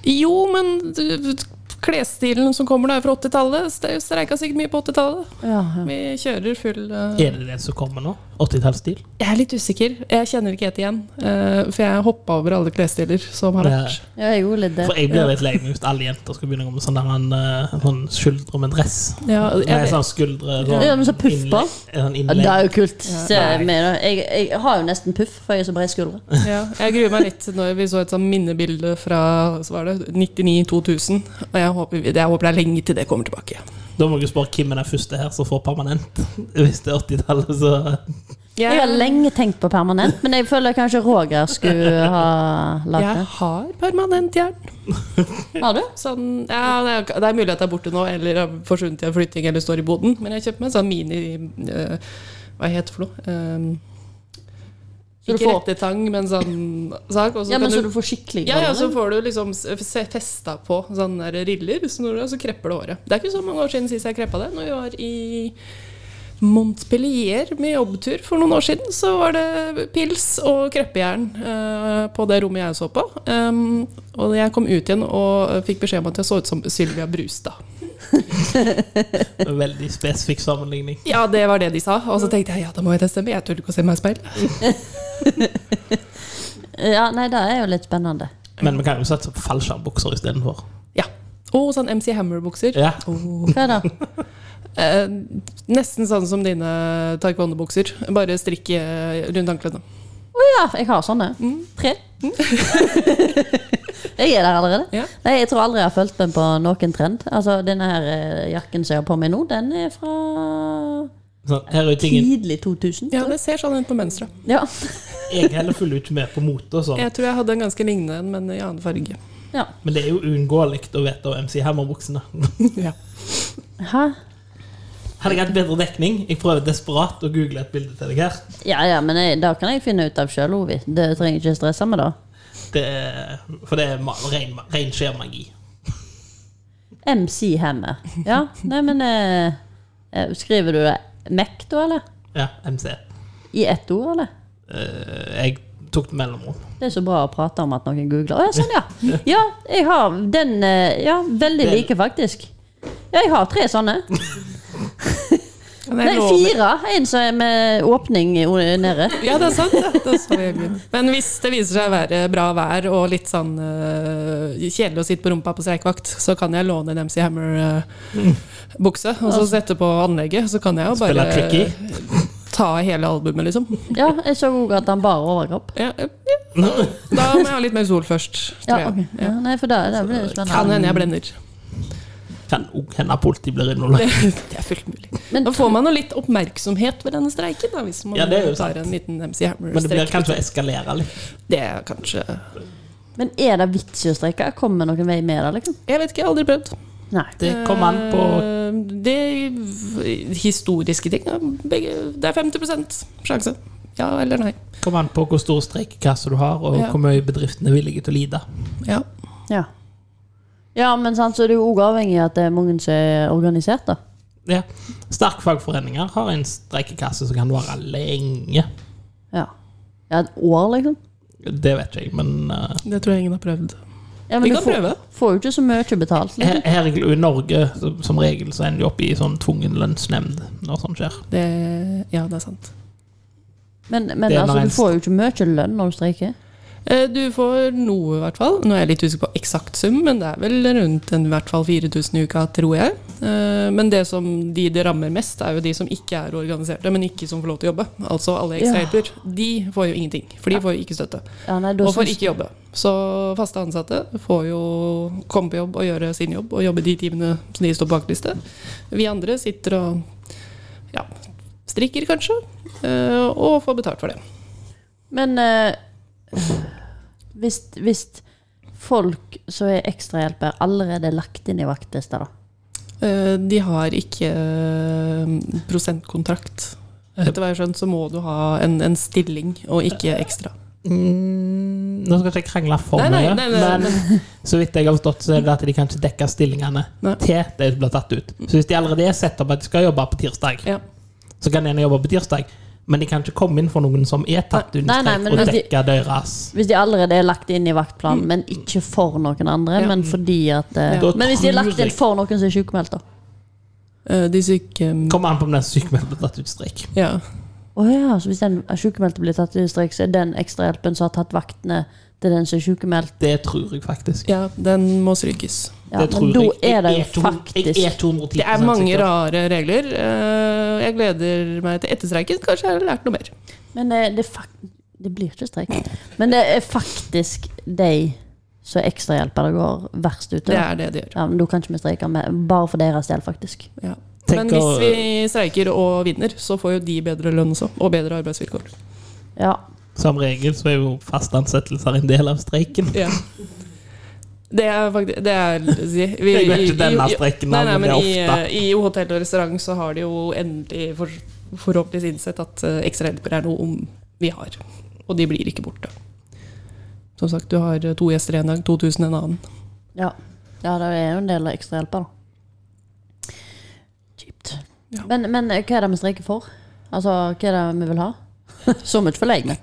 [SPEAKER 3] Jo, men du- klesstilen som kommer nå, er fra 80-tallet. Stre- Streika sikkert mye på 80-tallet.
[SPEAKER 1] ja, ja.
[SPEAKER 3] Vi kjører full eh,
[SPEAKER 2] er det det som kommer nå? 80-tallsstil?
[SPEAKER 3] Jeg er litt usikker. Jeg kjenner ikke helt igjen. eh, For jeg hoppa over alle klesstiler som har vært.
[SPEAKER 1] ja jeg er jo litt det.
[SPEAKER 2] For jeg blir litt lei meg hvis alle jenter skal begynne å gå med sånn der en, eh, sånn skuldre med dress.
[SPEAKER 3] Ja,
[SPEAKER 2] Nei,
[SPEAKER 3] jeg,
[SPEAKER 2] sånn skuldre sånn
[SPEAKER 1] Ja, men så puff på.
[SPEAKER 2] innle- Sånn
[SPEAKER 1] Ja, det
[SPEAKER 2] innlegg.
[SPEAKER 1] er jo kult. Se
[SPEAKER 2] Nei.
[SPEAKER 1] meg, da. Jeg, jeg har jo nesten puff, for jeg er så bred skuldre.
[SPEAKER 3] ja, jeg gruer meg litt når vi så et sånn minnebilde fra så var det 99-2000. Og jeg håper, jeg håper det er lenge til det kommer tilbake.
[SPEAKER 2] Da må jeg jo spørre hvem er den første her som får permanent. [laughs] Hvis det er 80-tallet, så
[SPEAKER 1] Jeg har lenge tenkt på permanent, men jeg føler kanskje Roger
[SPEAKER 3] [laughs]
[SPEAKER 1] skulle ha lagd
[SPEAKER 3] jeg
[SPEAKER 1] det.
[SPEAKER 3] har permanent jern.
[SPEAKER 1] Har du?
[SPEAKER 3] Sånn, ja, det er- det er mulig at det er borte nå, eller har forsvunnet i en flytting, eller står i boden. Men jeg kjøpte meg en sånn mini eh, Hva heter det for noe? Ehm,
[SPEAKER 1] Så du
[SPEAKER 3] ikke
[SPEAKER 1] får-
[SPEAKER 3] rettetang, men sånn sak. Og så
[SPEAKER 1] Ja, men
[SPEAKER 3] kan
[SPEAKER 1] så
[SPEAKER 3] du,
[SPEAKER 1] du får skikkelig
[SPEAKER 3] ja, ja, så
[SPEAKER 1] permanent.
[SPEAKER 3] får du liksom s- se- festa på sånne der riller, så, når du, så krepper det håret. Det er ikke så mange år siden sist jeg kreppa det. Når vi var i Montpellier med jobbtur for noen år siden, så var det pils og kreppejern eh, på det rommet jeg så på. Um, og jeg kom ut igjen og fikk beskjed om at jeg så ut som Sylvia Brustad.
[SPEAKER 2] en veldig spesifikk sammenligning.
[SPEAKER 3] Ja, det var det de sa. Og så tenkte jeg ja, da må jeg teste meg. Jeg turte ikke å se meg i speil.
[SPEAKER 1] Ja, nei, det er jo litt spennende.
[SPEAKER 2] Men vi kan jo satse på fallskjermbukser istedenfor.
[SPEAKER 3] Ja. Og sånn MC Hammer-bukser.
[SPEAKER 2] Ja.
[SPEAKER 1] Hva da?
[SPEAKER 3] Eh, nesten sånn som dine taekwondo-bukser. Bare strikk eh, rundt anklene.
[SPEAKER 1] Ja, jeg har sånne.
[SPEAKER 3] Mm.
[SPEAKER 1] Tre. [laughs] jeg er der allerede.
[SPEAKER 3] Ja.
[SPEAKER 1] Nei, Jeg tror aldri jeg har fulgt med på noen trend. Altså, Denne her eh, jakken som jeg har på meg nå, den er fra
[SPEAKER 2] Sånn, her er jo tingen
[SPEAKER 1] tidlig 2000.
[SPEAKER 3] Ja, det ser sånn ut på mønsteret.
[SPEAKER 1] Ja.
[SPEAKER 2] Jeg heller følger jo ikke med på mote og sånn,
[SPEAKER 3] Jeg tror jeg hadde en ganske lignende en, men i annen farge.
[SPEAKER 1] ja.
[SPEAKER 2] men det er jo uunngåelig å vite om MC Hammer-buksene. [laughs]
[SPEAKER 3] Ja.
[SPEAKER 1] Hæ?
[SPEAKER 2] Hadde jeg hatt bedre dekning Jeg prøver desperat å google et bilde til deg her.
[SPEAKER 1] Ja, ja, men jeg, det kan jeg finne ut av sjøl, Ovi. Det trenger jeg ikke stresse med, da.
[SPEAKER 2] Det er, for det er ma- ren, ren skjermagi.
[SPEAKER 1] MC Hammer. Ja, nei, men eh, eh, Skriver du det MEC, da, eller?
[SPEAKER 2] Ja, MC.
[SPEAKER 1] I ett ord, eller?
[SPEAKER 2] Eh, jeg tok det mellomrom.
[SPEAKER 1] Det er så bra å prate om at noen googler. Å ja, sånn,
[SPEAKER 3] [laughs]
[SPEAKER 1] ja. Ja, jeg har den eh, Ja, veldig
[SPEAKER 2] Den.
[SPEAKER 1] like, faktisk. Ja, jeg har tre sånne.
[SPEAKER 3] Men jeg
[SPEAKER 1] Nei,
[SPEAKER 3] lover-
[SPEAKER 1] fire. En som er med åpning i- nede.
[SPEAKER 3] Ja, det er sant. Ja. Det er så jævlig. Men hvis det viser seg å være bra vær og litt sånn eh, kjedelig å sitte på rumpa på streikevakt, så kan jeg låne en MC Hammer-bukse eh, og så sette på anlegget. Så kan jeg jo
[SPEAKER 2] Spille
[SPEAKER 3] bare
[SPEAKER 2] tricky.
[SPEAKER 3] ta hele albumet, liksom.
[SPEAKER 1] Ja, jeg så òg at han bar overkropp.
[SPEAKER 3] Ja, ja. Da må jeg ha litt mer sol først,
[SPEAKER 1] Ja,
[SPEAKER 3] tror jeg.
[SPEAKER 1] ok. ja, nei, for da, da blir det
[SPEAKER 3] Kan
[SPEAKER 1] spennende.
[SPEAKER 3] hende jeg blender.
[SPEAKER 2] Kan òg hende politi blir innholdet.
[SPEAKER 3] Det, [laughs] det er fullt mulig.
[SPEAKER 1] Men
[SPEAKER 3] Da får man jo litt oppmerksomhet ved denne streiken, da, hvis man
[SPEAKER 2] Ja, det er jo sant.
[SPEAKER 3] tar en liten MC
[SPEAKER 2] Men det blir
[SPEAKER 3] Hammer-streik.
[SPEAKER 2] kanskje å eskalere litt.
[SPEAKER 3] Det er kanskje
[SPEAKER 1] Men er det vits i å streike? Kommer noen vei med det, liksom?
[SPEAKER 3] Jeg vet ikke, jeg har aldri prøvd.
[SPEAKER 1] Nei.
[SPEAKER 2] Det kommer an på
[SPEAKER 3] Eh, Det historiske ting ja, begge, Det er 50 sjanse. Ja eller nei.
[SPEAKER 2] Kommer an på hvor stor streikekasse du har, og
[SPEAKER 3] Eh. Ja.
[SPEAKER 2] hvor mye bedriftene er villige til å lide.
[SPEAKER 3] Ja.
[SPEAKER 1] Ja. ja, men sant, så er det jo òg avhengig av at det er mange som er organisert, da.
[SPEAKER 2] Ja. Sterke fagforeninger har en streikekasse som kan vare lenge.
[SPEAKER 1] Ja. ja et år, liksom.
[SPEAKER 2] Det vet ikke jeg, men eh,
[SPEAKER 3] Det tror jeg ingen har prøvd.
[SPEAKER 1] Ja, men
[SPEAKER 3] Vi
[SPEAKER 1] du
[SPEAKER 3] kan
[SPEAKER 1] får,
[SPEAKER 3] prøve. Eh,
[SPEAKER 1] får jo ikke så mye betalt. Liksom.
[SPEAKER 2] her, her i- i Norge så- som regel så ender du opp i sånn tvungen lønnsnemnd når sånt skjer.
[SPEAKER 3] Det, ja, det er sant.
[SPEAKER 1] Men, men
[SPEAKER 2] Det er
[SPEAKER 1] altså,
[SPEAKER 2] når
[SPEAKER 1] du
[SPEAKER 2] en-
[SPEAKER 1] får jo ikke mye lønn når du streiker.
[SPEAKER 3] Eh, Du får noe, i hvert fall. Nå er jeg litt usikker på eksakt sum, men det er vel rundt en, i hvert fall 4000 i uka, tror jeg. Eh, Men det som de det rammer mest, er jo de som ikke er organiserte, men ikke som får lov til å jobbe. Altså alle
[SPEAKER 1] Ja.
[SPEAKER 3] ekstrahjelper. De får jo ingenting, for de får jo ikke støtte.
[SPEAKER 1] Ja, nei, da
[SPEAKER 3] og får
[SPEAKER 1] syns-
[SPEAKER 3] ikke jobbe. Så faste ansatte får jo komme på jobb og gjøre sin jobb, og jobbe de timene som de står på vaktliste. Vi andre sitter og ja, strikker kanskje, eh, og får betalt for det.
[SPEAKER 1] Men eh, hvis, hvis folk som er ekstrahjelper, allerede er lagt inn i vaktlista, da?
[SPEAKER 3] Eh, De har ikke eh, prosentkontrakt. Etter hva jeg har skjønt, så må du ha en, en stilling og ikke ekstra.
[SPEAKER 2] Mm, nå skal ikke jeg krangle for
[SPEAKER 3] Nei, nei,
[SPEAKER 2] mye,
[SPEAKER 3] nei, nei,
[SPEAKER 2] men så vidt jeg har forstått, så er det at de kan ikke dekke stillingene
[SPEAKER 3] Nei.
[SPEAKER 2] til det blir tatt ut. Så hvis de allerede er satt opp at de skal jobbe på tirsdag,
[SPEAKER 3] Ja.
[SPEAKER 2] så kan de gjerne jobbe på tirsdag, men de kan ikke komme inn for noen som er tatt under
[SPEAKER 1] Nei, nei,
[SPEAKER 2] streik,
[SPEAKER 1] men
[SPEAKER 2] og
[SPEAKER 1] hvis de-
[SPEAKER 2] dekke deres
[SPEAKER 1] Hvis de allerede er lagt inn i vaktplanen, men ikke for noen andre.
[SPEAKER 3] Ja.
[SPEAKER 1] Men fordi at eh,
[SPEAKER 2] Da
[SPEAKER 1] Men hvis de er
[SPEAKER 2] tror
[SPEAKER 1] lagt inn
[SPEAKER 2] jeg-
[SPEAKER 1] for noen som er sykemeldt, da.
[SPEAKER 3] Eh, De syke
[SPEAKER 2] Kommer an på om den sykemeldte blir tatt ut streik.
[SPEAKER 3] Ja.
[SPEAKER 1] Å ja, så hvis den sykemeldte blir tatt i streik, så er den ekstrahjelpen som har tatt vaktene til den som er sykemeldt
[SPEAKER 2] Det tror jeg faktisk.
[SPEAKER 3] ja, den må strykes.
[SPEAKER 1] ja,
[SPEAKER 2] det tror
[SPEAKER 1] Men da
[SPEAKER 2] jeg. Jeg
[SPEAKER 1] er det jo
[SPEAKER 2] to- Jeg er
[SPEAKER 1] faktisk
[SPEAKER 2] 210
[SPEAKER 3] Det er mange
[SPEAKER 2] sikker.
[SPEAKER 3] rare regler. Eh, Jeg gleder meg til etter streiken. Kanskje jeg har lært noe mer.
[SPEAKER 1] Men eh, det, er fak- det blir ikke streik. Men det er faktisk de som er ekstrahjelper det går verst ute.
[SPEAKER 3] Det
[SPEAKER 1] Da.
[SPEAKER 3] er det de gjør.
[SPEAKER 1] Ja, men da kan ikke vi streike med, bare for deres del, faktisk.
[SPEAKER 3] Ja. Men
[SPEAKER 2] Tenk
[SPEAKER 3] hvis
[SPEAKER 2] å-
[SPEAKER 3] vi streiker og vinner, så får jo de bedre lønn også. Og bedre arbeidsvilkår.
[SPEAKER 1] Ja.
[SPEAKER 2] Som regel så er jo fast ansettelser en del av streiken.
[SPEAKER 3] Ja. Det er faktisk Det er si, vi,
[SPEAKER 2] Jeg vet
[SPEAKER 3] i-
[SPEAKER 2] ikke denne
[SPEAKER 3] i- i-
[SPEAKER 2] streiken,
[SPEAKER 3] nei, nei,
[SPEAKER 2] men
[SPEAKER 3] men
[SPEAKER 2] det
[SPEAKER 3] i,
[SPEAKER 2] er ofte.
[SPEAKER 3] eh, I hotell og restaurant så har de jo endelig for, forhåpentligvis innsett at eh, ekstra hjelper er noe om vi har. Og de blir ikke borte. Som sagt, du har eh, to gjester en dag, 2000 en annen.
[SPEAKER 1] Ja, ja det er jo en del ekstrahjelper, da. Kjipt.
[SPEAKER 3] Ja.
[SPEAKER 1] Men, men eh, hva er det vi streiker for? Altså, hva er det vi vil ha? [laughs] Så mye forlegne.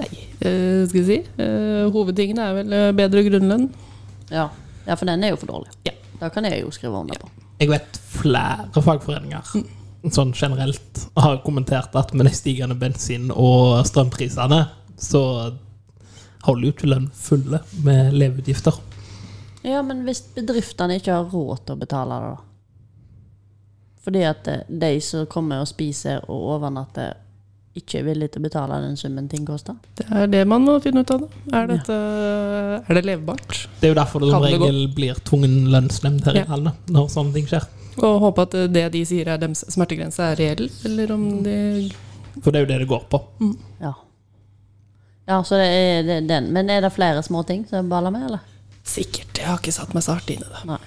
[SPEAKER 3] Eh, skal vi si. Eh, hovedtingene er vel eh, bedre grunnlønn.
[SPEAKER 1] Ja. ja, for den er jo for dårlig.
[SPEAKER 3] Ja.
[SPEAKER 1] Det kan jeg jo skrive under på.
[SPEAKER 2] Jeg vet flere fagforeninger sånn generelt har kommentert at med de stigende bensin- og strømprisene, så holder jo ikke lønn fulle med leveutgifter.
[SPEAKER 1] Ja, men hvis bedriftene ikke har råd til å betale det, da? Fordi at eh, de som kommer og spiser og overnatter, ikke er villige til å betale den summen ting koster?
[SPEAKER 3] Det er det man må finne ut av. Da. Er, dette, er det levbart?
[SPEAKER 2] Det er jo derfor det
[SPEAKER 3] Kan
[SPEAKER 2] som
[SPEAKER 3] det gå?
[SPEAKER 2] regel blir tvungen lønnsnemnd her
[SPEAKER 3] Ja.
[SPEAKER 2] i landet, når sånne ting skjer.
[SPEAKER 3] Og håpe at eh, det de sier er deres smertegrense, er reell, eller om det
[SPEAKER 2] For det er jo det det går på.
[SPEAKER 1] Ja. Ja, så det er det er den. Men er det flere småting som baller med, eller?
[SPEAKER 3] Sikkert. Jeg har ikke satt meg så hardt inn i det.
[SPEAKER 1] Nei,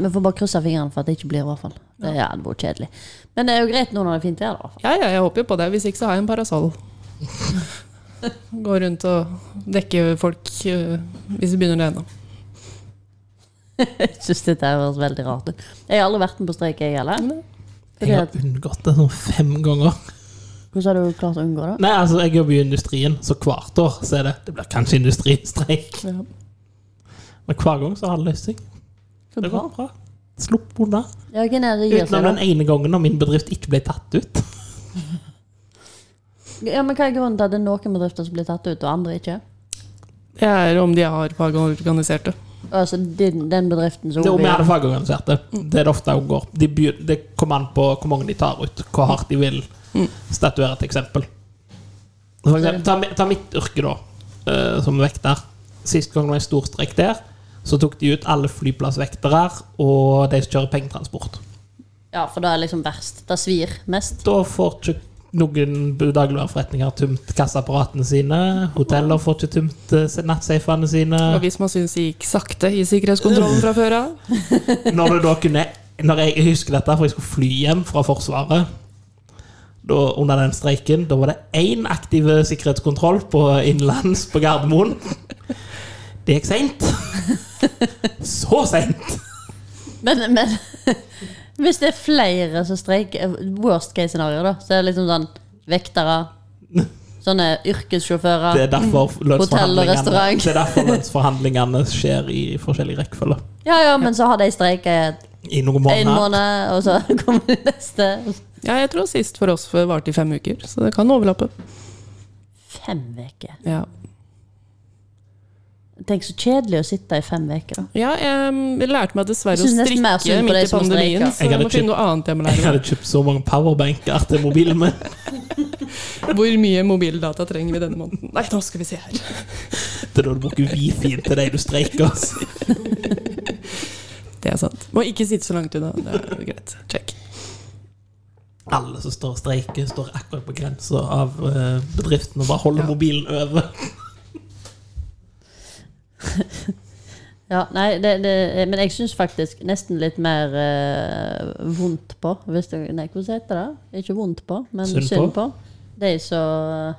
[SPEAKER 1] Vi får bare krysse fingrene for at det ikke blir i hvert fall. Det, ja, det var kjedelig. Men det er jo greit nå når det er fint vær. da, i hvert fall.
[SPEAKER 3] Ja, ja, jeg håper jo på det. Hvis ikke, så har jeg en parasoll. Gå rundt og dekke folk øh, hvis det begynner å regne.
[SPEAKER 1] [laughs] Jeg synes dette her høres veldig rart ut. Jeg har aldri vært med på streik, jeg heller. Mm. Fordi
[SPEAKER 2] Jeg har
[SPEAKER 1] at,
[SPEAKER 2] unngått det sånn fem ganger.
[SPEAKER 1] hvordan har du klart å unngå det?
[SPEAKER 2] Nei, altså, jeg jobber jo i industrien, så hvert år så er det Det blir kanskje industristreik.
[SPEAKER 3] Ja.
[SPEAKER 2] Men hver gang så har det løst seg.
[SPEAKER 1] Så
[SPEAKER 2] Det
[SPEAKER 1] bra.
[SPEAKER 2] går bra. Slupp unna.
[SPEAKER 1] Ja, hvem er det som gir
[SPEAKER 2] Utenom
[SPEAKER 1] seg,
[SPEAKER 2] den
[SPEAKER 1] da?
[SPEAKER 2] ene gangen når min bedrift ikke ble tatt ut.
[SPEAKER 1] Ja, men hva er grunnen til at det er noen bedrifter som blir tatt ut, og andre ikke?
[SPEAKER 3] Det er om de har fagorganiserte.
[SPEAKER 1] Altså den, den bedriften som
[SPEAKER 2] Det er Mm. om
[SPEAKER 1] vi-
[SPEAKER 2] vi hadde fagorganiserte. Det er det ofte hun går. De begy- det kommer an på hvor mange de tar ut, hvor hardt de vil statuere et eksempel. Mm. For eksempel ta, mi- ta mitt yrke, da, eh, som vekter. Sist gang det var en stor streik der, så tok de ut alle flyplassvektere og de som kjører pengetransport.
[SPEAKER 1] Ja, for det er liksom verst. Det svir mest.
[SPEAKER 2] Da får ikke noen dagligvareforretninger tømt kassaapparatene sine. Hoteller får ikke tømt eh, nattsafene sine.
[SPEAKER 3] Og hvis man syns det gikk sakte i sikkerhetskontrollen fra før av
[SPEAKER 2] Når du da kunne Når jeg husker dette, for jeg skulle fly hjem fra Forsvaret da, under den streiken, da var det én aktiv sikkerhetskontroll på innenlands på Gardermoen. Det gikk seint. Så seint!
[SPEAKER 1] Men, men [laughs] hvis det er flere som streiker, worst case scenario, da, så er det liksom sånn [laughs] vektere, sånne yrkessjåfører
[SPEAKER 2] Det
[SPEAKER 1] [laughs]
[SPEAKER 2] er derfor lønnsforhandlingene,
[SPEAKER 1] restaurant.
[SPEAKER 2] det er derfor lønnsforhandlingene skjer i forskjellig rekkefølge.
[SPEAKER 1] Ja, ja, men så har de streiket
[SPEAKER 2] I noen
[SPEAKER 1] en
[SPEAKER 2] måneder.
[SPEAKER 1] måned, og så [laughs] kommer de neste.
[SPEAKER 3] Ja, jeg tror sist for oss varte i fem uker, så det kan overlappe.
[SPEAKER 1] Fem uker.
[SPEAKER 3] Ja,
[SPEAKER 1] Tenk så kjedelig å sitte i fem uker.
[SPEAKER 3] ja jeg lærte meg dessverre å
[SPEAKER 1] Jeg synes nesten mer synd
[SPEAKER 3] strikke
[SPEAKER 1] på
[SPEAKER 3] midt
[SPEAKER 1] de
[SPEAKER 3] i
[SPEAKER 1] som har
[SPEAKER 3] pandemien,
[SPEAKER 1] streika.
[SPEAKER 3] så
[SPEAKER 2] Jeg
[SPEAKER 3] jeg
[SPEAKER 2] hadde
[SPEAKER 3] må finne noe annet jeg må
[SPEAKER 2] Jeg
[SPEAKER 3] lære.
[SPEAKER 2] hadde kjøpt så mange powerbanker til mobilen min. [laughs]
[SPEAKER 3] Hvor mye mobildata trenger vi denne måneden? Nei, nå skal vi se her.
[SPEAKER 2] Det er da du bruker wifi til de du streiker.
[SPEAKER 3] Det er sant. Må ikke sitte så langt unna. Det er greit. Check.
[SPEAKER 2] Alle som står og streiker, står akkurat på grensa av eh, bedriften og bare holder
[SPEAKER 3] Ja.
[SPEAKER 2] mobilen over.
[SPEAKER 1] Ja, nei, det, det, men jeg syns faktisk nesten litt mer eh, vondt på hvis det, Nei, hvordan heter det? Ikke vondt på, men
[SPEAKER 2] Synd
[SPEAKER 1] synd på. De som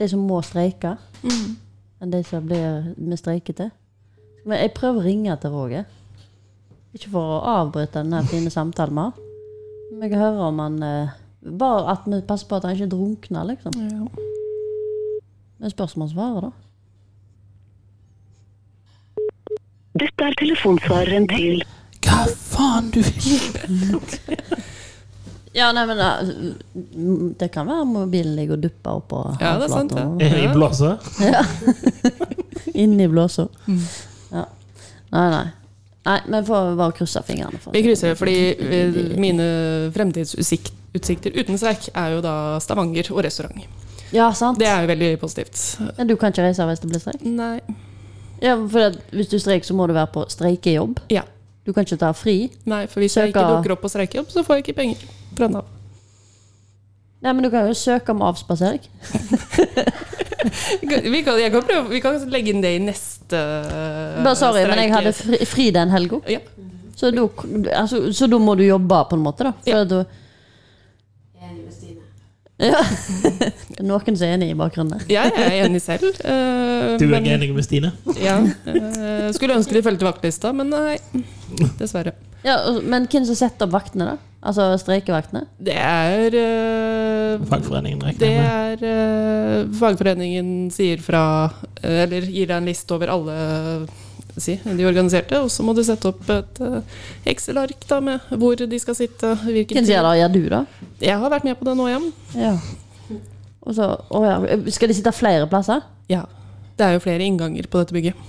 [SPEAKER 1] de som må streike, enn de som blir med streikete. Men jeg prøver å ringe til Roger. Ikke for å avbryte denne fine samtalen vi har. Men jeg hører om han eh, Bare at vi passer på at han ikke drukner, liksom.
[SPEAKER 3] Ja.
[SPEAKER 1] Men spørsmålssvaret, da?
[SPEAKER 4] Dette er telefonsvareren til
[SPEAKER 2] Hva faen du [laughs] vil?
[SPEAKER 1] Ja, nei, men eh, m- Det kan være mobilen ligger og dupper oppå
[SPEAKER 3] Ja, det er sant,
[SPEAKER 1] håndflaten.
[SPEAKER 2] Eh, I blåse?
[SPEAKER 1] Inni blåsa.
[SPEAKER 3] Mm.
[SPEAKER 1] Ja. Nei, nei. Nei, men får bare krysse fingrene. For.
[SPEAKER 3] Vi krysser fordi vi- mine fremtidsutsikter uten streik er jo da Stavanger og restaurant.
[SPEAKER 1] Ja, sant.
[SPEAKER 3] Det er jo veldig positivt.
[SPEAKER 1] Men du kan ikke reise hvis det blir streik?
[SPEAKER 3] Nei.
[SPEAKER 1] Ja, for at Hvis du streiker, så må du være på streikejobb.
[SPEAKER 3] Ja.
[SPEAKER 1] Du kan ikke ta fri.
[SPEAKER 3] Nei, for hvis jeg ikke
[SPEAKER 1] Søker-
[SPEAKER 3] dukker opp på streikejobb, så får jeg ikke penger fra Nav.
[SPEAKER 1] Nei, men du kan jo søke om avspasering.
[SPEAKER 3] Vi kan, jeg kan prøve, vi kan legge inn det i neste eh,
[SPEAKER 1] Bare sorry, men jeg hadde fri, fri den helga.
[SPEAKER 3] Øh, ja.
[SPEAKER 1] Så da altså, så da må du jobbe, på en måte, da. For
[SPEAKER 3] Ja.
[SPEAKER 1] at du,
[SPEAKER 5] Enig med Stine.
[SPEAKER 1] ja. [laughs] Det er Noen som er enig i bakgrunnen der.
[SPEAKER 3] Jeg er enig selv. eh,
[SPEAKER 2] Du er
[SPEAKER 3] men-
[SPEAKER 2] ikke enig med Stine?
[SPEAKER 3] Ja, eh, skulle ønske de fulgte vaktlista, men nei. Dessverre.
[SPEAKER 1] Ja, og- men hvem som setter opp vaktene, da? Altså streikevaktene?
[SPEAKER 3] Det er eh,
[SPEAKER 2] Fagforeningen regner
[SPEAKER 3] Det
[SPEAKER 2] jeg med.
[SPEAKER 3] er eh, Fagforeningen sier fra eh, Eller gir deg en liste over alle si, de organiserte, og så må du sette opp et eh, Excel-ark da med hvor de skal sitte. Hvilken
[SPEAKER 1] Hvem sier det? Ja, du, da?
[SPEAKER 3] tid. Jeg har vært med på det nå igjen.
[SPEAKER 1] Ja. Og så, å ja. Skal de sitte flere plasser?
[SPEAKER 3] Ja. Det er jo flere innganger på dette bygget.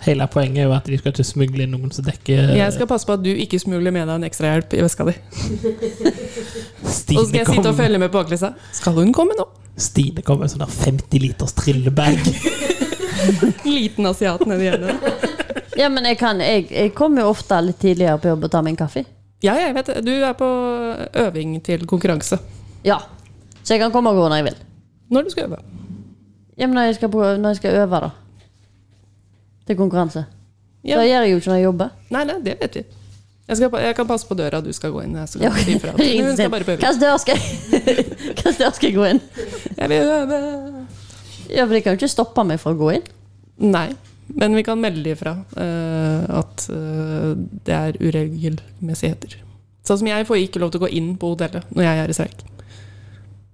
[SPEAKER 2] Hele poenget er jo at de skal ikke smugle inn noen som
[SPEAKER 1] Eh.
[SPEAKER 2] dekker
[SPEAKER 3] Jeg skal passe på at du ikke smugler med deg en ekstrahjelp i veska di. Og så skal
[SPEAKER 2] Stine
[SPEAKER 3] jeg sitte og
[SPEAKER 2] kommer
[SPEAKER 3] følge med på baklista. Skal hun komme
[SPEAKER 1] [laughs]
[SPEAKER 3] nå?
[SPEAKER 2] Stine kom med en sånn der 50 liters trillebag.
[SPEAKER 3] Liten asiat nedi hjørnet.
[SPEAKER 1] Ja, men jeg, kan, jeg, jeg kommer jo ofte litt tidligere på jobb og tar meg en kaffe.
[SPEAKER 3] Ja, jeg vet det. Du er på øving til konkurranse.
[SPEAKER 1] Ja. Så jeg kan komme og gå når jeg vil.
[SPEAKER 3] Når du skal øve.
[SPEAKER 1] Ja, men når jeg skal, på, når jeg skal øve, da. Til konkurranse.
[SPEAKER 3] Ja.
[SPEAKER 1] Det gjør jeg jo ikke når jeg jobber.
[SPEAKER 3] Nei, nei, det vet vi. Jeg, skal, pa- jeg kan passe på døra du skal gå inn. Jeg, så
[SPEAKER 1] Ja, [laughs]
[SPEAKER 3] kan du si fra. Men hun skal bare på øving.
[SPEAKER 1] Hvilken dør skal jeg [laughs] Hvilken dør skal jeg gå inn?
[SPEAKER 3] Jeg vil øve.
[SPEAKER 1] Ja, for De kan jo ikke stoppe meg fra å gå inn.
[SPEAKER 3] Nei, men vi kan melde ifra eh, at eh, det er uregelmessigheter. Sånn som jeg får ikke lov til å gå inn på hotellet når jeg er i streik.
[SPEAKER 1] Så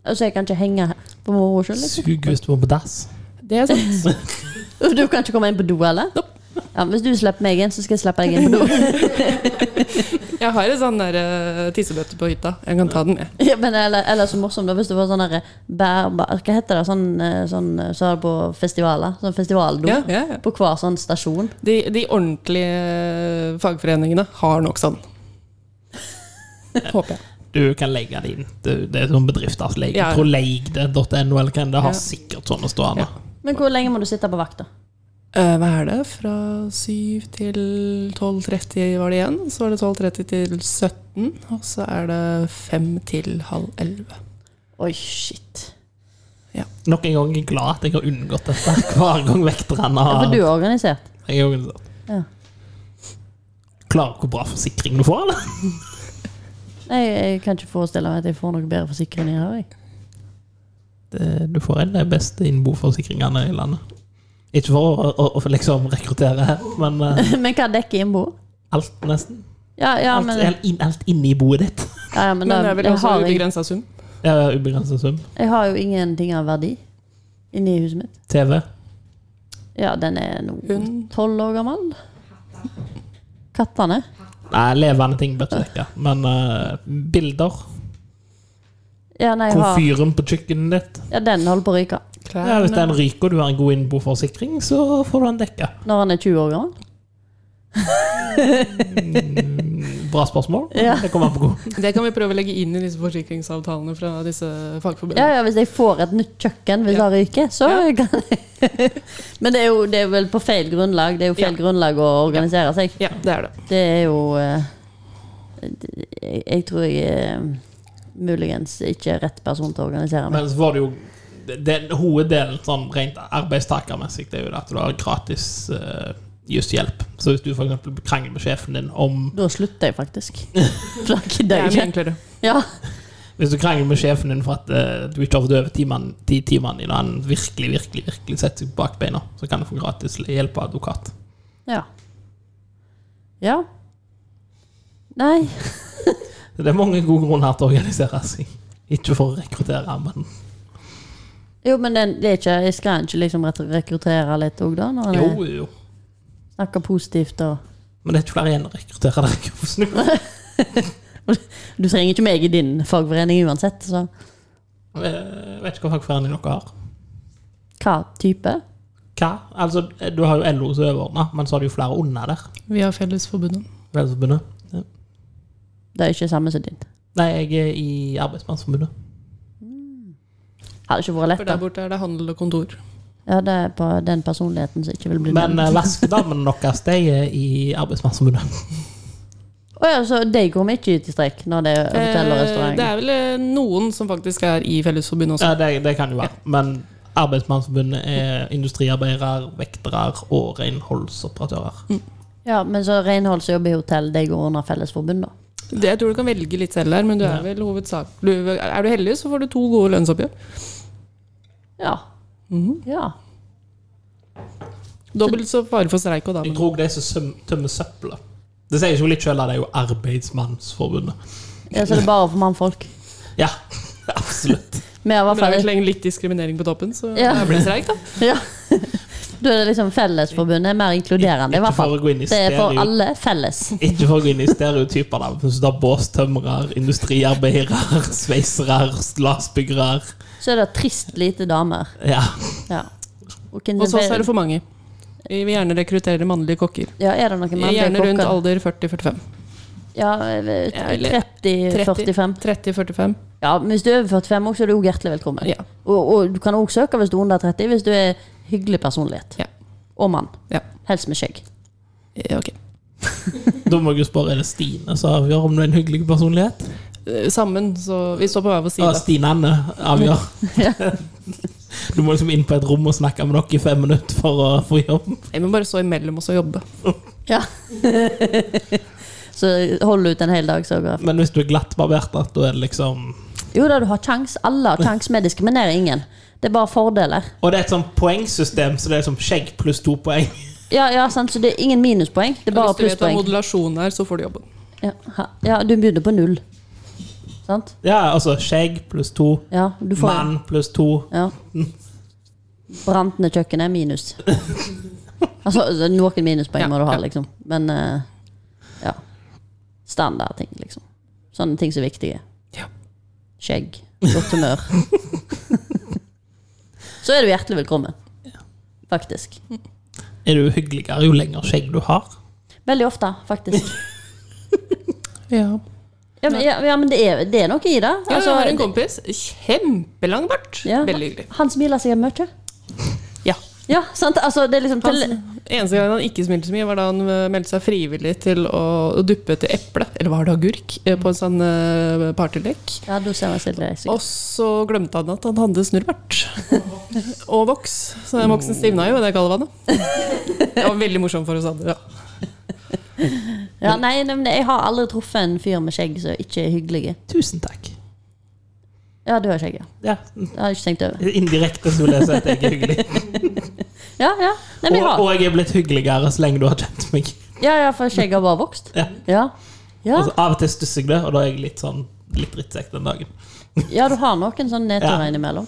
[SPEAKER 1] Altså, jeg kan ikke henge her på moro skyld. Liksom.
[SPEAKER 2] Sug hvis du må på dass.
[SPEAKER 3] Det er sant.
[SPEAKER 1] Og Du kan ikke komme inn på do, eller?
[SPEAKER 3] Nope.
[SPEAKER 1] Ja, men Hvis du slipper meg inn, så skal jeg slippe deg inn på do.
[SPEAKER 3] [laughs] Jeg har en sånn der eh, tissebøtte på hytta. Jeg kan ta den med.
[SPEAKER 1] Ja, men eller, eller så morsomt da, hvis det var sånn derre bær... bær- Hva heter det? Sånn, eh, sånn eh, så er det på festivaler. Sånn festivaldo.
[SPEAKER 3] Ja, ja, ja.
[SPEAKER 1] På hver sånn stasjon.
[SPEAKER 3] De, de ordentlige fagforeningene har nok [laughs] sånn. Håper jeg.
[SPEAKER 2] Du kan legge det inn. Det, det er sånn bedrifters lege.
[SPEAKER 3] Ja.
[SPEAKER 2] Jeg tror leigde.no eller hva det har
[SPEAKER 3] Ja.
[SPEAKER 2] sikkert sånne stående.
[SPEAKER 1] Men hvor lenge må du sitte på vakt, da?
[SPEAKER 3] Eh, Hva er det? Fra 7 til 12.30 var det igjen. Så var det 12.30 til 17. Og så er det 5 til halv 11.
[SPEAKER 1] Oi, shit.
[SPEAKER 2] Nok en gang er jeg glad at jeg har unngått dette [laughs] hver gang vekterne
[SPEAKER 1] Ja,
[SPEAKER 2] har
[SPEAKER 1] for du er organisert.
[SPEAKER 2] Jeg er organisert.
[SPEAKER 1] Ja.
[SPEAKER 2] Klarer hvor bra forsikring du får, eller?
[SPEAKER 1] Nei, jeg kan ikke forestille meg at jeg får noe bedre forsikring enn jeg [laughs] har. Jeg.
[SPEAKER 2] Det, du får en av de beste innboforsikringene i landet. Ikke for å, å, å liksom rekruttere her, men eh,
[SPEAKER 1] men hva dekker innbo?
[SPEAKER 2] alt, nesten.
[SPEAKER 1] Ja, ja,
[SPEAKER 2] Alt,
[SPEAKER 1] men, ja,
[SPEAKER 2] alt, inn, alt inni boet ditt. [laughs]
[SPEAKER 1] ja, men,
[SPEAKER 3] Men
[SPEAKER 1] da,
[SPEAKER 3] det er vel
[SPEAKER 1] jeg,
[SPEAKER 3] også
[SPEAKER 1] har, ing-
[SPEAKER 3] ubegrensa sum?
[SPEAKER 2] Det er ubegrenset sum.
[SPEAKER 1] jeg har jo ingenting av verdi inni huset mitt.
[SPEAKER 2] TV.
[SPEAKER 1] Ja, den er nå
[SPEAKER 3] Hund?
[SPEAKER 1] tolv år gammel. Kattene?
[SPEAKER 2] Nei, levende ting bør ikke dekke. Men eh, bilder.
[SPEAKER 1] Ja, nei, jeg har,
[SPEAKER 2] Komfyren på kjøkkenet ditt.
[SPEAKER 1] ja, den holder på å ryke.
[SPEAKER 2] Ja, hvis den ryker og du har en god innboforsikring, så får du den dekka.
[SPEAKER 1] Når han er 20 år gammel.
[SPEAKER 2] Bra spørsmål.
[SPEAKER 1] Ja.
[SPEAKER 2] Det kommer an på hvor.
[SPEAKER 3] Det kan vi prøve å legge inn i disse forsikringsavtalene fra disse
[SPEAKER 1] Ja,
[SPEAKER 3] fagforbundene.
[SPEAKER 1] ja, Hvis jeg får et nytt kjøkken hvis
[SPEAKER 3] Ja.
[SPEAKER 1] det ryker, så
[SPEAKER 3] Ja.
[SPEAKER 1] kan jeg [laughs] Men det er, jo, det er vel på feil grunnlag. Det er jo feil
[SPEAKER 3] Ja.
[SPEAKER 1] grunnlag å organisere seg.
[SPEAKER 3] Ja, det er det.
[SPEAKER 1] Det er jo eh, det- Jeg jeg tror jeg er muligens ikke er rett person til å organisere meg.
[SPEAKER 2] Men så var det jo det, det- Hoveddelen sånn rent arbeidstakermessig det er jo det at du har gratis eh, jusshjelp. Så hvis du for eksempel krangler med sjefen din om
[SPEAKER 3] [laughs]
[SPEAKER 1] Da slutter jeg faktisk. For da
[SPEAKER 3] Det
[SPEAKER 1] gidder
[SPEAKER 3] er
[SPEAKER 1] jeg
[SPEAKER 3] mye
[SPEAKER 1] ikke.
[SPEAKER 3] enklere.
[SPEAKER 1] Ja.
[SPEAKER 2] Hvis du krangler med sjefen din for at eh, du ikke overdøver timene- ti timene dine, og han virkelig, virkelig virkelig setter seg på bakbeina, så kan du få gratis hjelp av advokat.
[SPEAKER 1] Ja. Ja. Nei.
[SPEAKER 2] Så Det er mange gode grunner til å organisere seg. Ikke for å rekruttere, men
[SPEAKER 1] Jo, men den- det er ikke, jeg skal ikke liksom ret- rekruttere litt òg, da? Når han
[SPEAKER 2] jo,
[SPEAKER 1] er-
[SPEAKER 2] jo.
[SPEAKER 1] snakker positivt og
[SPEAKER 2] Men det er ikke flere igjen å rekruttere deg. på snu.
[SPEAKER 1] Du trenger ikke meg i din fagforening uansett, så
[SPEAKER 2] Jeg Eh, vet ikke hva fagforening dere har.
[SPEAKER 1] hva type?
[SPEAKER 2] Hva? Altså, du har jo LO som overordna, men så har du jo flere under der.
[SPEAKER 3] Vi har Fellesforbundet.
[SPEAKER 2] Velforbundet. Ja.
[SPEAKER 1] Det er ikke samme som din.
[SPEAKER 2] Nei, jeg er i Arbeidsmannsforbundet.
[SPEAKER 1] Hadde ikke vært lett,
[SPEAKER 3] For der
[SPEAKER 1] da.
[SPEAKER 3] borte er det handel og kontor. Ja,
[SPEAKER 1] Ja, det er på den personligheten som ikke vil bli
[SPEAKER 2] Men
[SPEAKER 1] nevnt.
[SPEAKER 2] eh, vaskedamene deres, de er i Arbeidsmannsforbundet.
[SPEAKER 1] [laughs] Å ja, så de går vi ikke ut i strekk når det er hotell og restaurant?
[SPEAKER 3] Eh, det er vel eh, noen som faktisk er i Fellesforbundet også.
[SPEAKER 2] Ja, det, det kan jo være. Men Arbeidsmannsforbundet er industriarbeidere, vektere og renholdsoperatører.
[SPEAKER 1] Mm. Ja, men så renhold som jobber i hotell, de går under Fellesforbund, da.
[SPEAKER 3] Det, jeg tror du kan velge litt selv her, men du er vel hovedsak... Du, er du heldig, så får du to gode lønnsoppgjør.
[SPEAKER 1] Ja.
[SPEAKER 2] Mhm.
[SPEAKER 1] Ja.
[SPEAKER 3] Dobbelt så fare for streik og da,
[SPEAKER 2] Jeg
[SPEAKER 3] men
[SPEAKER 2] tror de som søm- tømmer søpla. Det sier ikke litt selv, det er jo Arbeidsmannsforbundet.
[SPEAKER 1] ja. Så det er bare for mannfolk.
[SPEAKER 2] Ja, [laughs] absolutt.
[SPEAKER 1] Vi har i hvert
[SPEAKER 3] men det er
[SPEAKER 1] fall
[SPEAKER 3] vel lenge litt diskriminering på toppen, så
[SPEAKER 1] Ja.
[SPEAKER 3] det blir
[SPEAKER 1] [laughs]
[SPEAKER 3] streik, da.
[SPEAKER 1] Ja. Da er det liksom Fellesforbundet er mer inkluderende, i hvert fall.
[SPEAKER 2] Ikke for å gå inn i
[SPEAKER 1] Det er for
[SPEAKER 2] stereo-
[SPEAKER 1] alle felles.
[SPEAKER 2] Ikke for å gå inn i stereotyper, da. Hvis du tar båstømrere, industriarbeidere, sveisere, glassbyggere
[SPEAKER 1] Så er det trist lite damer.
[SPEAKER 2] Ja.
[SPEAKER 1] Ja. Og
[SPEAKER 3] Og så er det for mange. Vi vil gjerne rekruttere mannlige kokker.
[SPEAKER 1] Ja, er det noen mannlige
[SPEAKER 3] Gjerne rundt
[SPEAKER 1] kokker?
[SPEAKER 3] alder 40-45.
[SPEAKER 1] Ja,
[SPEAKER 3] Eller
[SPEAKER 1] Eh, 30-45.
[SPEAKER 3] 30-45.
[SPEAKER 1] Ja, men hvis du er over 45 også, så er du også hjertelig velkommen.
[SPEAKER 3] Ja.
[SPEAKER 1] Og, og du kan også søke hvis du er under 30, hvis du er hyggelig personlighet.
[SPEAKER 3] Ja.
[SPEAKER 1] Og mann.
[SPEAKER 3] Ja.
[SPEAKER 1] Helst med skjegg.
[SPEAKER 3] Eh, Ok.
[SPEAKER 2] Da må jeg jo spørre, er det Stine som avgjør om du er en hyggelig personlighet?
[SPEAKER 3] Eh, Sammen, så vi står på hver vår
[SPEAKER 2] Ja,
[SPEAKER 3] side.
[SPEAKER 2] Stine Anne avgjør.
[SPEAKER 1] [laughs]
[SPEAKER 2] [laughs] Du må liksom inn på et rom og snakke med dere i fem minutter for å få jobb.
[SPEAKER 3] Nei, men bare stå imellom oss og jobbe.
[SPEAKER 1] Ja. [laughs] så hold ut en hel dag, så går det.
[SPEAKER 2] Men hvis du er glattbarbert, da, da er det liksom
[SPEAKER 1] Jo da, du har kjangs. Alle har kjangs. Vi diskriminerer ingen. Det er bare fordeler.
[SPEAKER 2] Og det er et sånn poengsystem, så det er liksom skjegg pluss to poeng. [laughs]
[SPEAKER 1] Ja, ja, sant, så det er ingen minuspoeng. Det er bare
[SPEAKER 3] Hvis du vet hva
[SPEAKER 1] plusspoeng.
[SPEAKER 3] modulasjon er, så får du jobben.
[SPEAKER 1] Ja, ha- ja, du begynner på null. Sant?
[SPEAKER 2] Ja, altså skjegg pluss to,
[SPEAKER 1] Ja, du får
[SPEAKER 2] mann pluss to.
[SPEAKER 1] Ja. Brant ned kjøkkenet er minus. altså, så noen minuspoeng må du ha,
[SPEAKER 3] Ja, ja.
[SPEAKER 1] liksom. Men eh, ja. Standardting, liksom. Sånne ting som er viktige.
[SPEAKER 3] Ja.
[SPEAKER 1] Skjegg. Godt humør. [laughs] så er du hjertelig velkommen. Faktisk.
[SPEAKER 2] Er du hyggeligere jo lenger skjegg du har?
[SPEAKER 1] Veldig ofte, faktisk.
[SPEAKER 3] Ja.
[SPEAKER 1] Ja, men, ja, ja, men det, er, det er noe i det.
[SPEAKER 3] Ja,
[SPEAKER 1] Altså,
[SPEAKER 3] jeg har en
[SPEAKER 1] det-
[SPEAKER 3] kompis. Kjempelang bart.
[SPEAKER 1] ja.
[SPEAKER 3] Veldig hyggelig.
[SPEAKER 1] Han smiler sikkert mye.
[SPEAKER 3] Ja.
[SPEAKER 1] Ja, sant? Altså, det er liksom
[SPEAKER 3] Han,
[SPEAKER 1] til,
[SPEAKER 3] eneste gangen han ikke smilte så mye, var da han eh, meldte seg frivillig til å duppe til eple, eller var det agurk, eh, på en sånn eh, partylek.
[SPEAKER 1] Ja, da ser jeg selv det. sikkert.
[SPEAKER 3] Og så glemte han at han hadde snurrbart. [laughs] Og voks. Så den voksen stivna jo i det kaldvannet. Det var veldig morsomt for oss andre. Ja.
[SPEAKER 1] Ja, nei, nei, men jeg har aldri truffet en fyr med skjegg som ikke er hyggelig.
[SPEAKER 2] Tusen takk.
[SPEAKER 1] Ja, du har skjegg, ja.
[SPEAKER 2] Ja,
[SPEAKER 1] Det har jeg ikke tenkt over.
[SPEAKER 2] Indirekte så vil jeg si at jeg er hyggelig.
[SPEAKER 1] Ja, ja. [laughs] Nei, men
[SPEAKER 2] Og,
[SPEAKER 1] jeg har.
[SPEAKER 2] og jeg er blitt hyggeligere så lenge du har kjent meg.
[SPEAKER 1] Ja, ja, for skjegget har bare vokst.
[SPEAKER 2] Ja.
[SPEAKER 1] Ja. Ja.
[SPEAKER 2] Altså, av og til stusser jeg det, og da er jeg litt sånn litt drittsekk den dagen.
[SPEAKER 1] ja, du har noen sånne nedturer
[SPEAKER 2] Ja.
[SPEAKER 1] innimellom.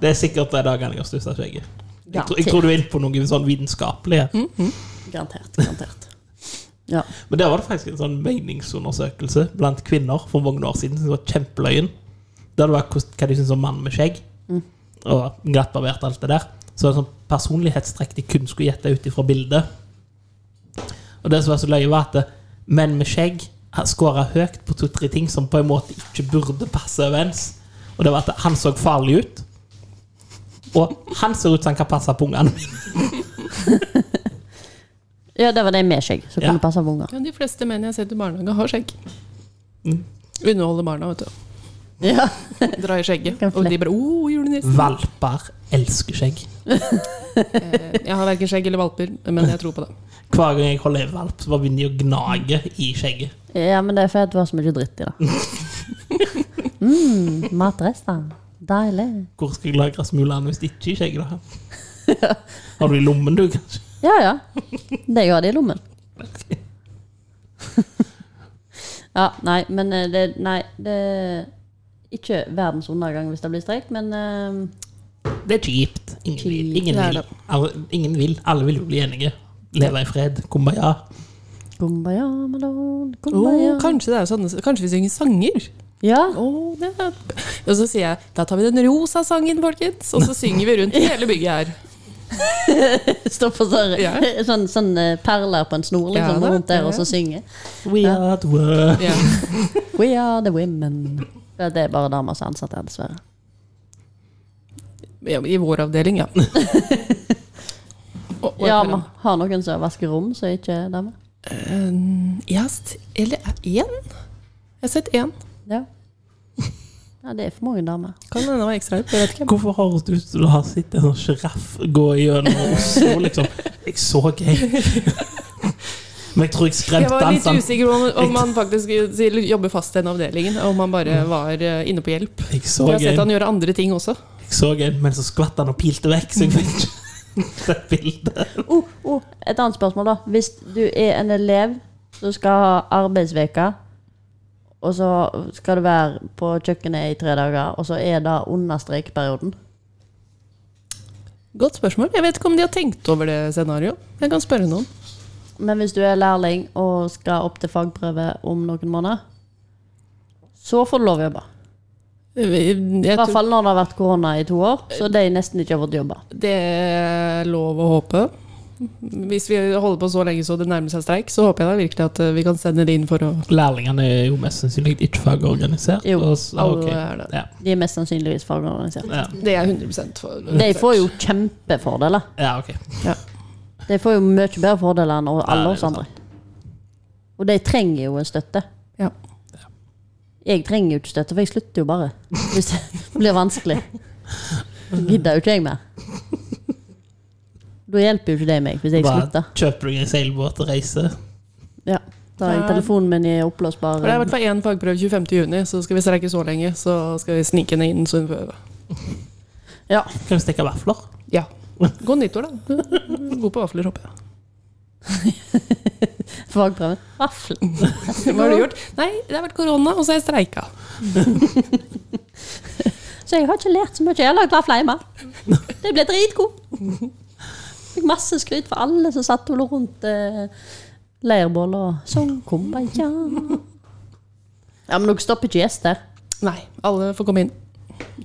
[SPEAKER 2] Det er sikkert de dagene jeg har stussa skjegget. Jeg,
[SPEAKER 1] Ja,
[SPEAKER 2] tror- jeg tror du er inne på noe sånn vitenskapelig. her.
[SPEAKER 1] Garantert. garantert. Ja.
[SPEAKER 2] Men der var det faktisk en sånn meningsundersøkelse blant kvinner for mange år siden som var kjempeløyen. Der det var hvordan- hva de syns om mann med skjegg, og glattbarbert og alt det der. Så var det sånn personlighetstrekk de kun skulle gjette ut ifra bildet. Og det som var så løye, var at det- menn med skjegg skåra høyt på to-tre ting som på en måte ikke burde passe overens. Og det var at han så farlig ut. Og han ser ut som han kan passe på ungene mine.
[SPEAKER 1] ja, det var de med skjegg som
[SPEAKER 2] Ja.
[SPEAKER 1] kunne passe på unger.
[SPEAKER 3] Ja, de fleste menn jeg har sett i barnehage, har skjegg. Underholder barna, vet du.
[SPEAKER 1] Ja.
[SPEAKER 3] Dra i skjegget.
[SPEAKER 1] Kan
[SPEAKER 3] Og de bare 'Å, julenissen'.
[SPEAKER 2] Valper elsker skjegg.
[SPEAKER 3] Jeg har verken skjegg eller valper, men jeg tror på det.
[SPEAKER 2] Hver gang jeg holder en valp, så bare begynner de å gnage i skjegget. [laughs]
[SPEAKER 1] ja, men det er fordi det var så mye dritt i det. Mm, matrestene. Deilig.
[SPEAKER 2] Hvor skal jeg lagre smulene hvis det ikke er skjegg? da? Har du i lommen, du, kanskje?
[SPEAKER 1] Ja, ja. Det jeg hadde i [laughs] lommen. Ja, nei, men eh, det Nei, det Ikke verdens undergang hvis det blir streik, men eh,
[SPEAKER 2] Det er kjipt. Ingen, vil- ingen,
[SPEAKER 3] Det er
[SPEAKER 2] vil.
[SPEAKER 3] det.
[SPEAKER 2] Alle, ingen vil. Alle vil jo bli enige. Leve i fred. Kumbaya.
[SPEAKER 1] Kumbaya, Malone, kumbaya. Oh.
[SPEAKER 3] Oh, kanskje, det er sånne, kanskje vi synger sanger?
[SPEAKER 1] Ja.
[SPEAKER 3] Å, det er... Og så sier jeg da tar vi den rosa sangen, folkens. Og så synger vi [laughs] rundt i hele bygget her.
[SPEAKER 1] [laughs] Stå på sånn,
[SPEAKER 3] Ja.
[SPEAKER 1] [laughs] sånn, sånn eh, perler på en snor
[SPEAKER 3] Ja,
[SPEAKER 1] liksom,
[SPEAKER 3] da.
[SPEAKER 1] rundt der, og
[SPEAKER 3] Ja.
[SPEAKER 1] så synge.
[SPEAKER 2] We are the world.
[SPEAKER 3] Ja.
[SPEAKER 1] We are the women. Ja, Det er bare damer som er ansatt her, dessverre.
[SPEAKER 3] Ja, I vår avdeling, [laughs] ja. Og- og
[SPEAKER 1] Ja,
[SPEAKER 3] et par
[SPEAKER 1] man
[SPEAKER 3] andre.
[SPEAKER 1] har noen som vasker rom, så er ikke damer.
[SPEAKER 3] Ja, st- eller er én? Jeg har sett én.
[SPEAKER 1] [laughs] Ja. ja, det er for mange damer.
[SPEAKER 3] Kan hende det var ekstra hjelp. Jeg vet ikke.
[SPEAKER 2] Hvorfor høres det ut som du har sett en sånn sjiraff gå gjennom Oslo, liksom? Jeg så gøy. Men jeg tror jeg
[SPEAKER 3] [laughs] Jeg
[SPEAKER 2] skremte
[SPEAKER 3] var
[SPEAKER 2] han
[SPEAKER 3] litt
[SPEAKER 2] sånn.
[SPEAKER 3] usikker på om, om han faktisk sier- jobber fast i den avdelingen. Om han bare var eh, inne på hjelp.
[SPEAKER 2] Jeg så
[SPEAKER 3] Jeg har sett
[SPEAKER 2] en-
[SPEAKER 3] han gjøre andre ting også.
[SPEAKER 2] Jeg så en, men så skvatt han og pilte vekk, så jeg vet ikke det bildet.
[SPEAKER 1] Oh, oh, et annet spørsmål, da. Hvis du er en elev som skal ha arbeidsveka, og så skal du være på kjøkkenet i tre dager, og så er det under streikeperioden
[SPEAKER 3] Godt spørsmål. Jeg vet ikke om de har tenkt over det scenarioet. Jeg kan spørre noen.
[SPEAKER 1] Men hvis du er lærling og skal opp til fagprøve om noen måneder, så får du lov å jobbe.
[SPEAKER 3] Jeg
[SPEAKER 1] I hvert
[SPEAKER 3] tror Eh,
[SPEAKER 1] fall når det har vært korona i to år, så de nesten ikke har fått jobbe.
[SPEAKER 3] det er lov å håpe. Hvis vi holder på så lenge så det nærmer seg streik, så håper jeg da virkelig at eh, vi kan sende det inn for å
[SPEAKER 2] Lærlingene er jo mest sannsynlig ikke fagorganisert.
[SPEAKER 1] Jo,
[SPEAKER 2] og så- ok.
[SPEAKER 3] alle er det.
[SPEAKER 2] Ja,
[SPEAKER 1] De er mest sannsynligvis fagorganisert.
[SPEAKER 2] ja.
[SPEAKER 3] Det er jeg 100 for.
[SPEAKER 1] De får jo kjempefordeler.
[SPEAKER 2] ja, ok.
[SPEAKER 3] Ja.
[SPEAKER 1] De får jo mye bedre fordeler enn
[SPEAKER 2] Ja, det
[SPEAKER 1] alle
[SPEAKER 2] er
[SPEAKER 1] oss
[SPEAKER 2] jo
[SPEAKER 1] andre. Og de trenger jo en støtte.
[SPEAKER 3] Ja.
[SPEAKER 1] Jeg trenger jo ikke støtte, for jeg slutter jo bare hvis det [laughs] blir vanskelig. Så gidder jo ikke jeg mer. Da hjelper jo ikke det meg, hvis jeg
[SPEAKER 2] Bare
[SPEAKER 1] slutter.
[SPEAKER 2] kjøper du en seilbåt og reiser.
[SPEAKER 1] Ja, da er jeg telefonen min i oppblåsbar
[SPEAKER 3] For det er i hvert fall én fagprøve 25. juni, så skal vi streike så lenge, så skal vi snike ned inn sånn før.
[SPEAKER 1] Ja.
[SPEAKER 2] Kan du stikke vafler?
[SPEAKER 3] Ja. God nyttår, da. God på vafler, håper jeg.
[SPEAKER 1] Fagprøven. Vaffel.
[SPEAKER 3] [laughs] Hva har du gjort? Nei, det har vært korona, og så har jeg streika.
[SPEAKER 1] Så jeg har ikke lært så mye. Jeg har lagd vafler [laughs] hjemme. Det ble dritgod. Fikk masse skryt for alle som satt og lo rundt eh, leirbål og sånn. sang kumbaya. Ja, men dere stopper ikke gjester.
[SPEAKER 3] Nei, alle får komme inn.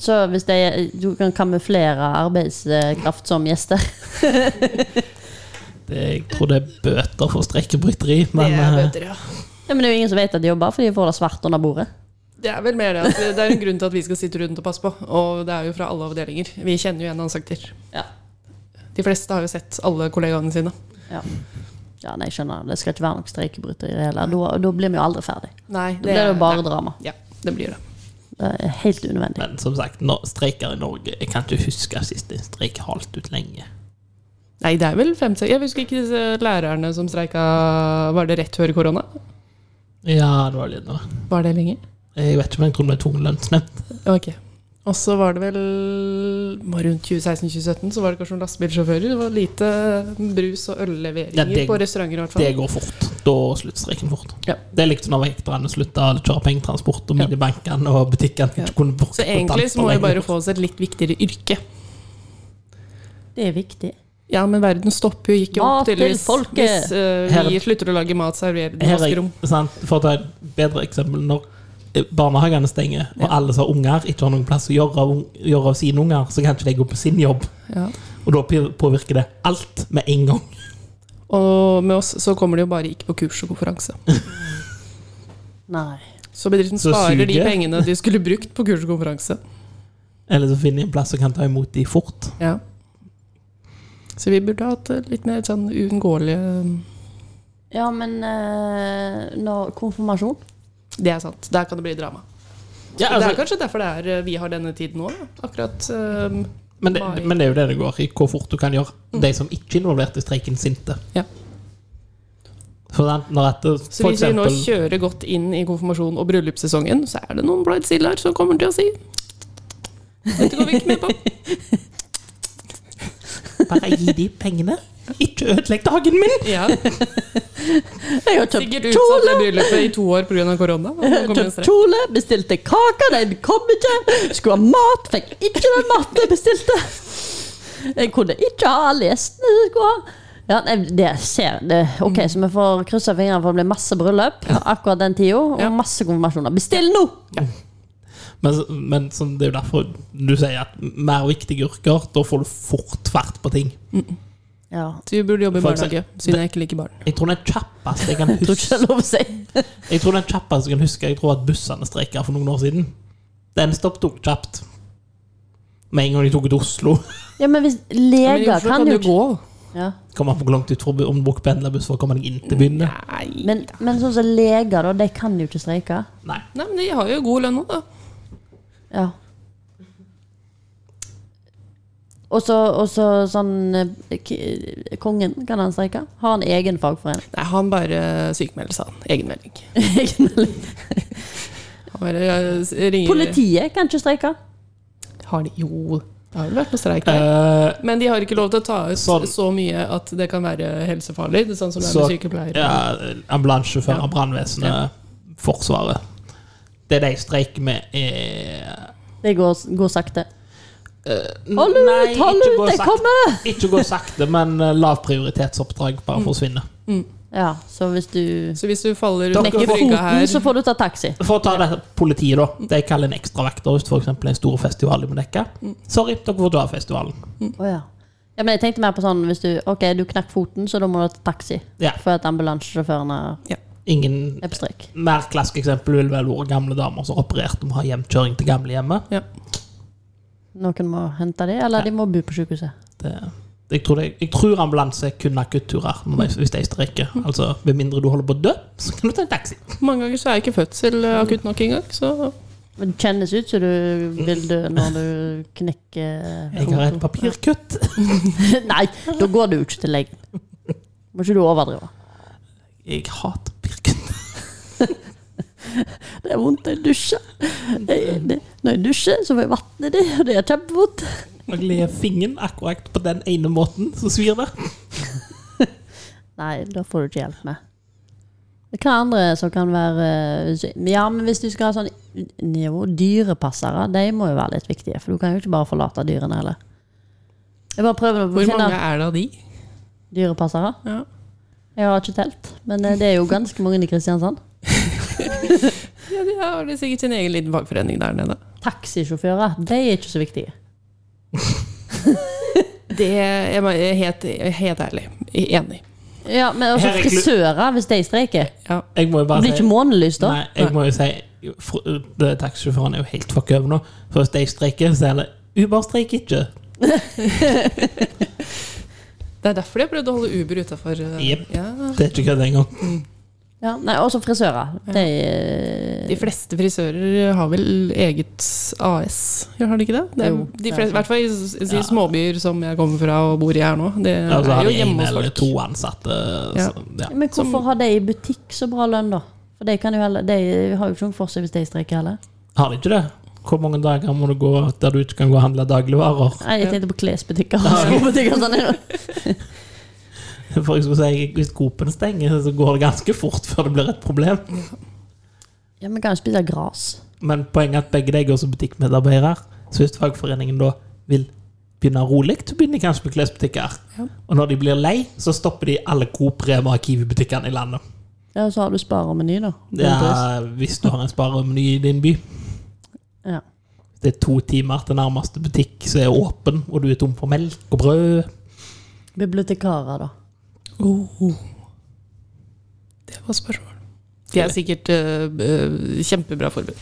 [SPEAKER 1] Så hvis det er, du kan kamuflere arbeidskraft som [laughs] gjester
[SPEAKER 2] Det, jeg tror det er bøter for streikebryteri, men eh,
[SPEAKER 3] bøter, ja.
[SPEAKER 1] ja, Men det er jo ingen som vet at de jobber, for de får det svart under bordet.
[SPEAKER 3] Det er vel mer det at det er en grunn til at vi skal sitte rundt og passe på. Og det er jo fra alle avdelinger. Vi kjenner jo igjen ansikter.
[SPEAKER 1] Ja.
[SPEAKER 3] De fleste har jo sett alle kollegaene sine.
[SPEAKER 1] Ja, ja nei, jeg skjønner. Det skal ikke være noen streikebrytere i det hele. Da, da blir vi jo aldri ferdig.
[SPEAKER 3] Nei,
[SPEAKER 1] Da blir det jo bare
[SPEAKER 3] nei.
[SPEAKER 1] drama.
[SPEAKER 3] Ja, det blir det.
[SPEAKER 1] Det er helt unødvendig.
[SPEAKER 2] men som sagt, nå, streiker i Norge Jeg kan ikke huske sist en streik halt ut lenge.
[SPEAKER 3] Nei, det er vel fem seks Jeg husker ikke disse lærerne som streika Var det rett før korona?
[SPEAKER 2] Ja, det var litt noe.
[SPEAKER 3] Var det lenge?
[SPEAKER 2] Jeg vet ikke, men jeg tror det ble tvungen lønnsnemnd.
[SPEAKER 3] Ok. Og så var det vel var det rundt 2016-2017 så var det kanskje noen lastebilsjåfører. Det var lite brus- og ølleveringer
[SPEAKER 2] Ja, det-
[SPEAKER 3] på restauranter. i hvert fall.
[SPEAKER 2] Det går fort. Da slutter streiken fort.
[SPEAKER 3] Ja.
[SPEAKER 2] Det er liksom når vekterne slutta å kjøre pengetransport, og minibankene og butikkene ikke
[SPEAKER 3] Ja.
[SPEAKER 2] kunne bruke
[SPEAKER 3] Så egentlig så må
[SPEAKER 2] kontanter
[SPEAKER 3] vi bare
[SPEAKER 2] lenger.
[SPEAKER 3] få oss et litt viktigere yrke.
[SPEAKER 1] Det er viktig.
[SPEAKER 3] Ja, men verden stopper jo ikke
[SPEAKER 1] Mat
[SPEAKER 3] opp
[SPEAKER 1] til
[SPEAKER 3] tydeligvis
[SPEAKER 1] folket!
[SPEAKER 3] hvis eh,
[SPEAKER 2] Her-
[SPEAKER 3] vi slutter å lage mat, servere den i
[SPEAKER 2] Her er,
[SPEAKER 3] vaskerom.
[SPEAKER 2] sant, for å ta et bedre eksempel Når eh, barnehagene stenger, og alle som har unger, ikke har noen plass å gjøre av, ung- gjøre av sine unger, så kan ikke de gå på sin jobb.
[SPEAKER 3] Ja.
[SPEAKER 2] Og da pir- påvirker det alt med en gang.
[SPEAKER 3] Og med oss så kommer de jo bare ikke på kurs og konferanse.
[SPEAKER 1] Nei.
[SPEAKER 3] Så bedriften
[SPEAKER 2] Så
[SPEAKER 3] sparer de
[SPEAKER 2] suger.
[SPEAKER 3] pengene de skulle brukt på kurs og konferanse.
[SPEAKER 2] Eller så finner de en plass som kan ta imot de fort.
[SPEAKER 3] Ja. Så vi burde hatt eh, litt mer sånn uunngåelige eh,
[SPEAKER 1] Ja, men eh, når konfirmasjon
[SPEAKER 3] Det er sant. Der kan det bli drama.
[SPEAKER 2] Ja,
[SPEAKER 3] det er
[SPEAKER 2] altså,
[SPEAKER 3] kanskje derfor det er, eh, vi har denne tiden nå. da. Akkurat ehm,
[SPEAKER 2] men, det, men det er jo det det
[SPEAKER 3] Mm.
[SPEAKER 2] går i, hvor fort du kan gjøre de som ikke er involvert i streiken, sinte.
[SPEAKER 3] Ja.
[SPEAKER 2] For den, når dette,
[SPEAKER 3] Så
[SPEAKER 2] for
[SPEAKER 3] hvis vi nå
[SPEAKER 2] eksempel,
[SPEAKER 3] kjører godt inn i konfirmasjon og bryllupssesongen, så er det noen bridezillar som kommer til å si Dette går vi ikke med på.
[SPEAKER 2] bare gi de pengene. Ikke ødelegg dagen min!
[SPEAKER 3] Ja,
[SPEAKER 1] Jeg har
[SPEAKER 3] Sikkert
[SPEAKER 1] kjøpt
[SPEAKER 3] utsatt
[SPEAKER 1] kjole!
[SPEAKER 3] det bryllupet i to år pga. korona. og nå kommer det
[SPEAKER 1] Kjøpt
[SPEAKER 3] stress.
[SPEAKER 1] kjole, bestilte kake, den kom ikke. Skulle ha mat, fikk ikke den maten jeg bestilte. Jeg kunne ikke ha lest den jeg skulle ha. Ja, nei, det ser det. Ok, så vi får krysse fingrene for det blir masse bryllup akkurat den tida,
[SPEAKER 3] Ja.
[SPEAKER 1] og masse konfirmasjoner. Bestill nå!
[SPEAKER 2] Men, men sånn, det er jo derfor du sier at mer viktige yrker, da får du fort fart på ting.
[SPEAKER 1] Ja.
[SPEAKER 3] Så vi burde jobbe i
[SPEAKER 2] For
[SPEAKER 3] barnehage, siden jeg ikke liker barn.
[SPEAKER 2] Jeg tror den kjappeste
[SPEAKER 1] [laughs]
[SPEAKER 2] jeg kan
[SPEAKER 1] Tror ikke det
[SPEAKER 2] huske
[SPEAKER 1] er lov å si.
[SPEAKER 2] Jeg tror den kjappeste jeg kan huske Jeg tror at bussene streika for noen år siden. Den stopptok kjapt. Med en gang de tok ut Oslo. [laughs]
[SPEAKER 1] Ja, men hvis
[SPEAKER 3] Ja, men i
[SPEAKER 1] leger
[SPEAKER 3] Oslo
[SPEAKER 1] kan jo
[SPEAKER 3] du gå.
[SPEAKER 1] Ja.
[SPEAKER 2] Kommer an på hvor langt ut for om du bruker pendlerbuss for å komme deg inn til byen. da.
[SPEAKER 3] Nei.
[SPEAKER 1] Men, men sånn som leger, da, de kan jo ikke streike.
[SPEAKER 2] Nei.
[SPEAKER 3] Nei, men de har jo god lønn nå, da.
[SPEAKER 1] Ja. Og så og så sånn eh, k- Kongen, kan han streike? Har han egen
[SPEAKER 2] [laughs]
[SPEAKER 1] fagforening?
[SPEAKER 3] Nei, han bare sykemelder seg, han. Egenmelding.
[SPEAKER 1] Egen melding.
[SPEAKER 3] Han bare eh, ringer
[SPEAKER 1] Politiet kan ikke streike.
[SPEAKER 3] Har de Jo, det har vel vært noe streik der.
[SPEAKER 2] Eh,
[SPEAKER 3] Men de har ikke lov til å ta ut
[SPEAKER 2] Sånn.
[SPEAKER 3] så mye at det kan være helsefarlig. Sånn som det er
[SPEAKER 2] Så-
[SPEAKER 3] med sykepleiere.
[SPEAKER 2] ja, ambulansesjåfører,
[SPEAKER 3] Ja. Ja.
[SPEAKER 2] brannvesenet, Forsvaret. Det de streiker med, Eh, er
[SPEAKER 1] Det går, går sakte.
[SPEAKER 2] N-
[SPEAKER 1] Hold
[SPEAKER 2] nei,
[SPEAKER 1] ut, hold
[SPEAKER 2] ikke
[SPEAKER 1] ut,
[SPEAKER 2] gå
[SPEAKER 1] jeg
[SPEAKER 2] sakte.
[SPEAKER 1] kommer!
[SPEAKER 2] Ikke gå sakte, men eh, lav prioritetsoppdrag
[SPEAKER 1] Mm.
[SPEAKER 2] bare forsvinner.
[SPEAKER 1] Ja, så hvis du
[SPEAKER 3] Så hvis du faller
[SPEAKER 2] Dere
[SPEAKER 3] utenfor
[SPEAKER 1] knekker
[SPEAKER 2] får-
[SPEAKER 3] brygga
[SPEAKER 1] foten,
[SPEAKER 3] her
[SPEAKER 1] så får du ta taxi.
[SPEAKER 2] For å ta det politiet, da. De kaller en ekstravakt hvis for eksempel en stor festival de må dekke. Sorry, dere får dra av festivalen.
[SPEAKER 1] Å ja. ja. Men jeg tenkte mer på sånn hvis du Ok, du knakk foten, så da må du ta taxi.
[SPEAKER 2] Ja.
[SPEAKER 1] For at ambulansesjåføren er
[SPEAKER 2] Ingen
[SPEAKER 1] på streik.
[SPEAKER 2] mer klassisk eksempel ville vel vært gamle damer som opererte om å ha hjemkjøring til gamlehjemmet.
[SPEAKER 3] ja.
[SPEAKER 1] Noen må hente dem, eller de må bo på sykehuset.
[SPEAKER 2] Det- Jeg tror, det, jeg tror ambulanse kun har kutturer når de- hvis de streiker. Altså, Med mindre du holder på å dø, så kan du ta en taxi.
[SPEAKER 3] Mange ganger så er ikke fødsel eh, akutt nok engang, så
[SPEAKER 1] Men det kjennes ut som du vil dø når du knekker
[SPEAKER 2] Jeg har et
[SPEAKER 1] foten. [laughs]
[SPEAKER 2] papirkutt.
[SPEAKER 1] Nei, da går du jo ikke til legen. Må ikke du overdrive.
[SPEAKER 2] Jeg hater papirkutt.
[SPEAKER 1] Det er vondt når jeg dusjer. Jeg, det, når jeg dusjer, så får jeg vann i det, og det er kjempevondt.
[SPEAKER 2] Jeg ler fingeren akkurat på den ene måten som svir der.
[SPEAKER 1] Nei, da får du ikke hjelp med. Hva andre som kan være eh, Ja, men hvis du skal ha sånn jo, Dyrepassere, de må jo være litt viktige, for du kan jo ikke bare forlate dyrene heller. Jeg bare prøver å
[SPEAKER 3] Hvor
[SPEAKER 1] finne
[SPEAKER 3] mange er det av de?
[SPEAKER 1] dyrepassere.
[SPEAKER 3] Ja.
[SPEAKER 1] Jeg har ikke telt, men eh, det er jo ganske mange i Kristiansand.
[SPEAKER 3] Ja, de har det sikkert sin egen liten fagforening der nede.
[SPEAKER 1] Taxisjåfører, de er ikke så viktige.
[SPEAKER 3] Det jeg må- jeg er helt, jeg er helt ærlig. Jeg er Enig.
[SPEAKER 1] Ja, men også
[SPEAKER 2] Her er klu-
[SPEAKER 1] frisører, hvis de streiker.
[SPEAKER 3] Ja.
[SPEAKER 2] Jeg må jo
[SPEAKER 1] Det
[SPEAKER 2] bare
[SPEAKER 1] blir
[SPEAKER 2] si
[SPEAKER 1] ikke månelys da.
[SPEAKER 2] Nei, jeg må jo si fr- det- Taxisjåføren er jo helt fuck over nå. For hvis de streiker, så er det Uber streiker ikke.
[SPEAKER 3] Det er derfor de har prøvd å holde Uber utafor.
[SPEAKER 2] Jep.
[SPEAKER 3] Ja.
[SPEAKER 2] Det er ikke kødd engang.
[SPEAKER 1] Ja, nei, også frisører. De,
[SPEAKER 3] De fleste frisører har vel eget AS, Ja, har de ikke det? det er,
[SPEAKER 1] Jo,
[SPEAKER 3] de
[SPEAKER 1] det er
[SPEAKER 3] fleste, I hvert fall i s- i småbyer som jeg kommer fra og bor i her nå. Det
[SPEAKER 2] Ja, så
[SPEAKER 3] er
[SPEAKER 2] Altså, har
[SPEAKER 3] jo
[SPEAKER 2] de en
[SPEAKER 3] hjemme
[SPEAKER 2] eller
[SPEAKER 3] hos
[SPEAKER 2] to
[SPEAKER 3] folk.
[SPEAKER 2] ansatte.
[SPEAKER 3] Ja.
[SPEAKER 2] Så, ja.
[SPEAKER 1] eh, men hvorfor har de i butikk så bra lønn, da? For de, kan jo heller, de har jo ikke noe for seg hvis de streiker heller.
[SPEAKER 2] Har de ikke det? Hvor mange dager må du gå der du ikke kan gå og handle dagligvarer? [laughs]
[SPEAKER 1] Nei, jeg tenkte på klesbutikker og skobutikker. og Sånn, ja.
[SPEAKER 2] For jeg skulle si, Hvis Coop-en stenger, så går det ganske fort før det blir et problem.
[SPEAKER 1] ja, men kan jo spise gras.
[SPEAKER 2] Men poenget er at begge de går som butikkmedarbeidere. Så hvis fagforeningen da vil begynne rolig, så begynner de kanskje med klesbutikker. Og når de blir lei, så stopper de alle Coop, Rema og Kiwi-butikkene i landet.
[SPEAKER 1] Ja, og så har du sparemeny, da.
[SPEAKER 2] Ja, hvis du har en sparemeny i din by.
[SPEAKER 1] Ja.
[SPEAKER 2] Det er to timer til nærmeste butikk som er åpen, og du er tom for melk og brød.
[SPEAKER 1] Bibliotekarer, da.
[SPEAKER 3] Oh. Det var spørsmål. De er sikkert eh, eh, kjempebra forbud.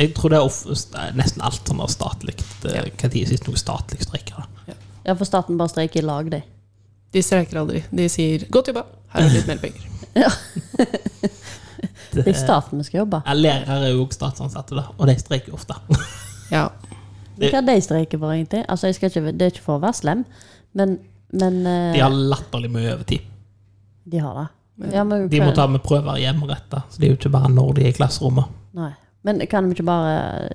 [SPEAKER 2] Jeg tror det er off nei, nesten alt som er statlig. Det-
[SPEAKER 3] Ja.
[SPEAKER 2] Hva tid sist noe statlig streiker? da?
[SPEAKER 1] Ja, for staten bare streiker i lag, de.
[SPEAKER 3] De streiker aldri. De sier 'godt jobba, her er litt mer penger'.
[SPEAKER 1] Det er i staten vi skal jobbe.
[SPEAKER 2] Ja, Lærere er jo også statsansatte, da, og de streiker ofte.
[SPEAKER 3] Ja.
[SPEAKER 1] Hva er det de streiker for, egentlig? Altså, jeg skal ikke, Det er ikke for å være slem, men, men eh,
[SPEAKER 2] De har latterlig mye overtid.
[SPEAKER 1] de har det. Ja, men,
[SPEAKER 2] De må ta med prøver hjemmeretta, så det er jo ikke bare når de er i klasserommet.
[SPEAKER 1] Nei. Men kan vi ikke bare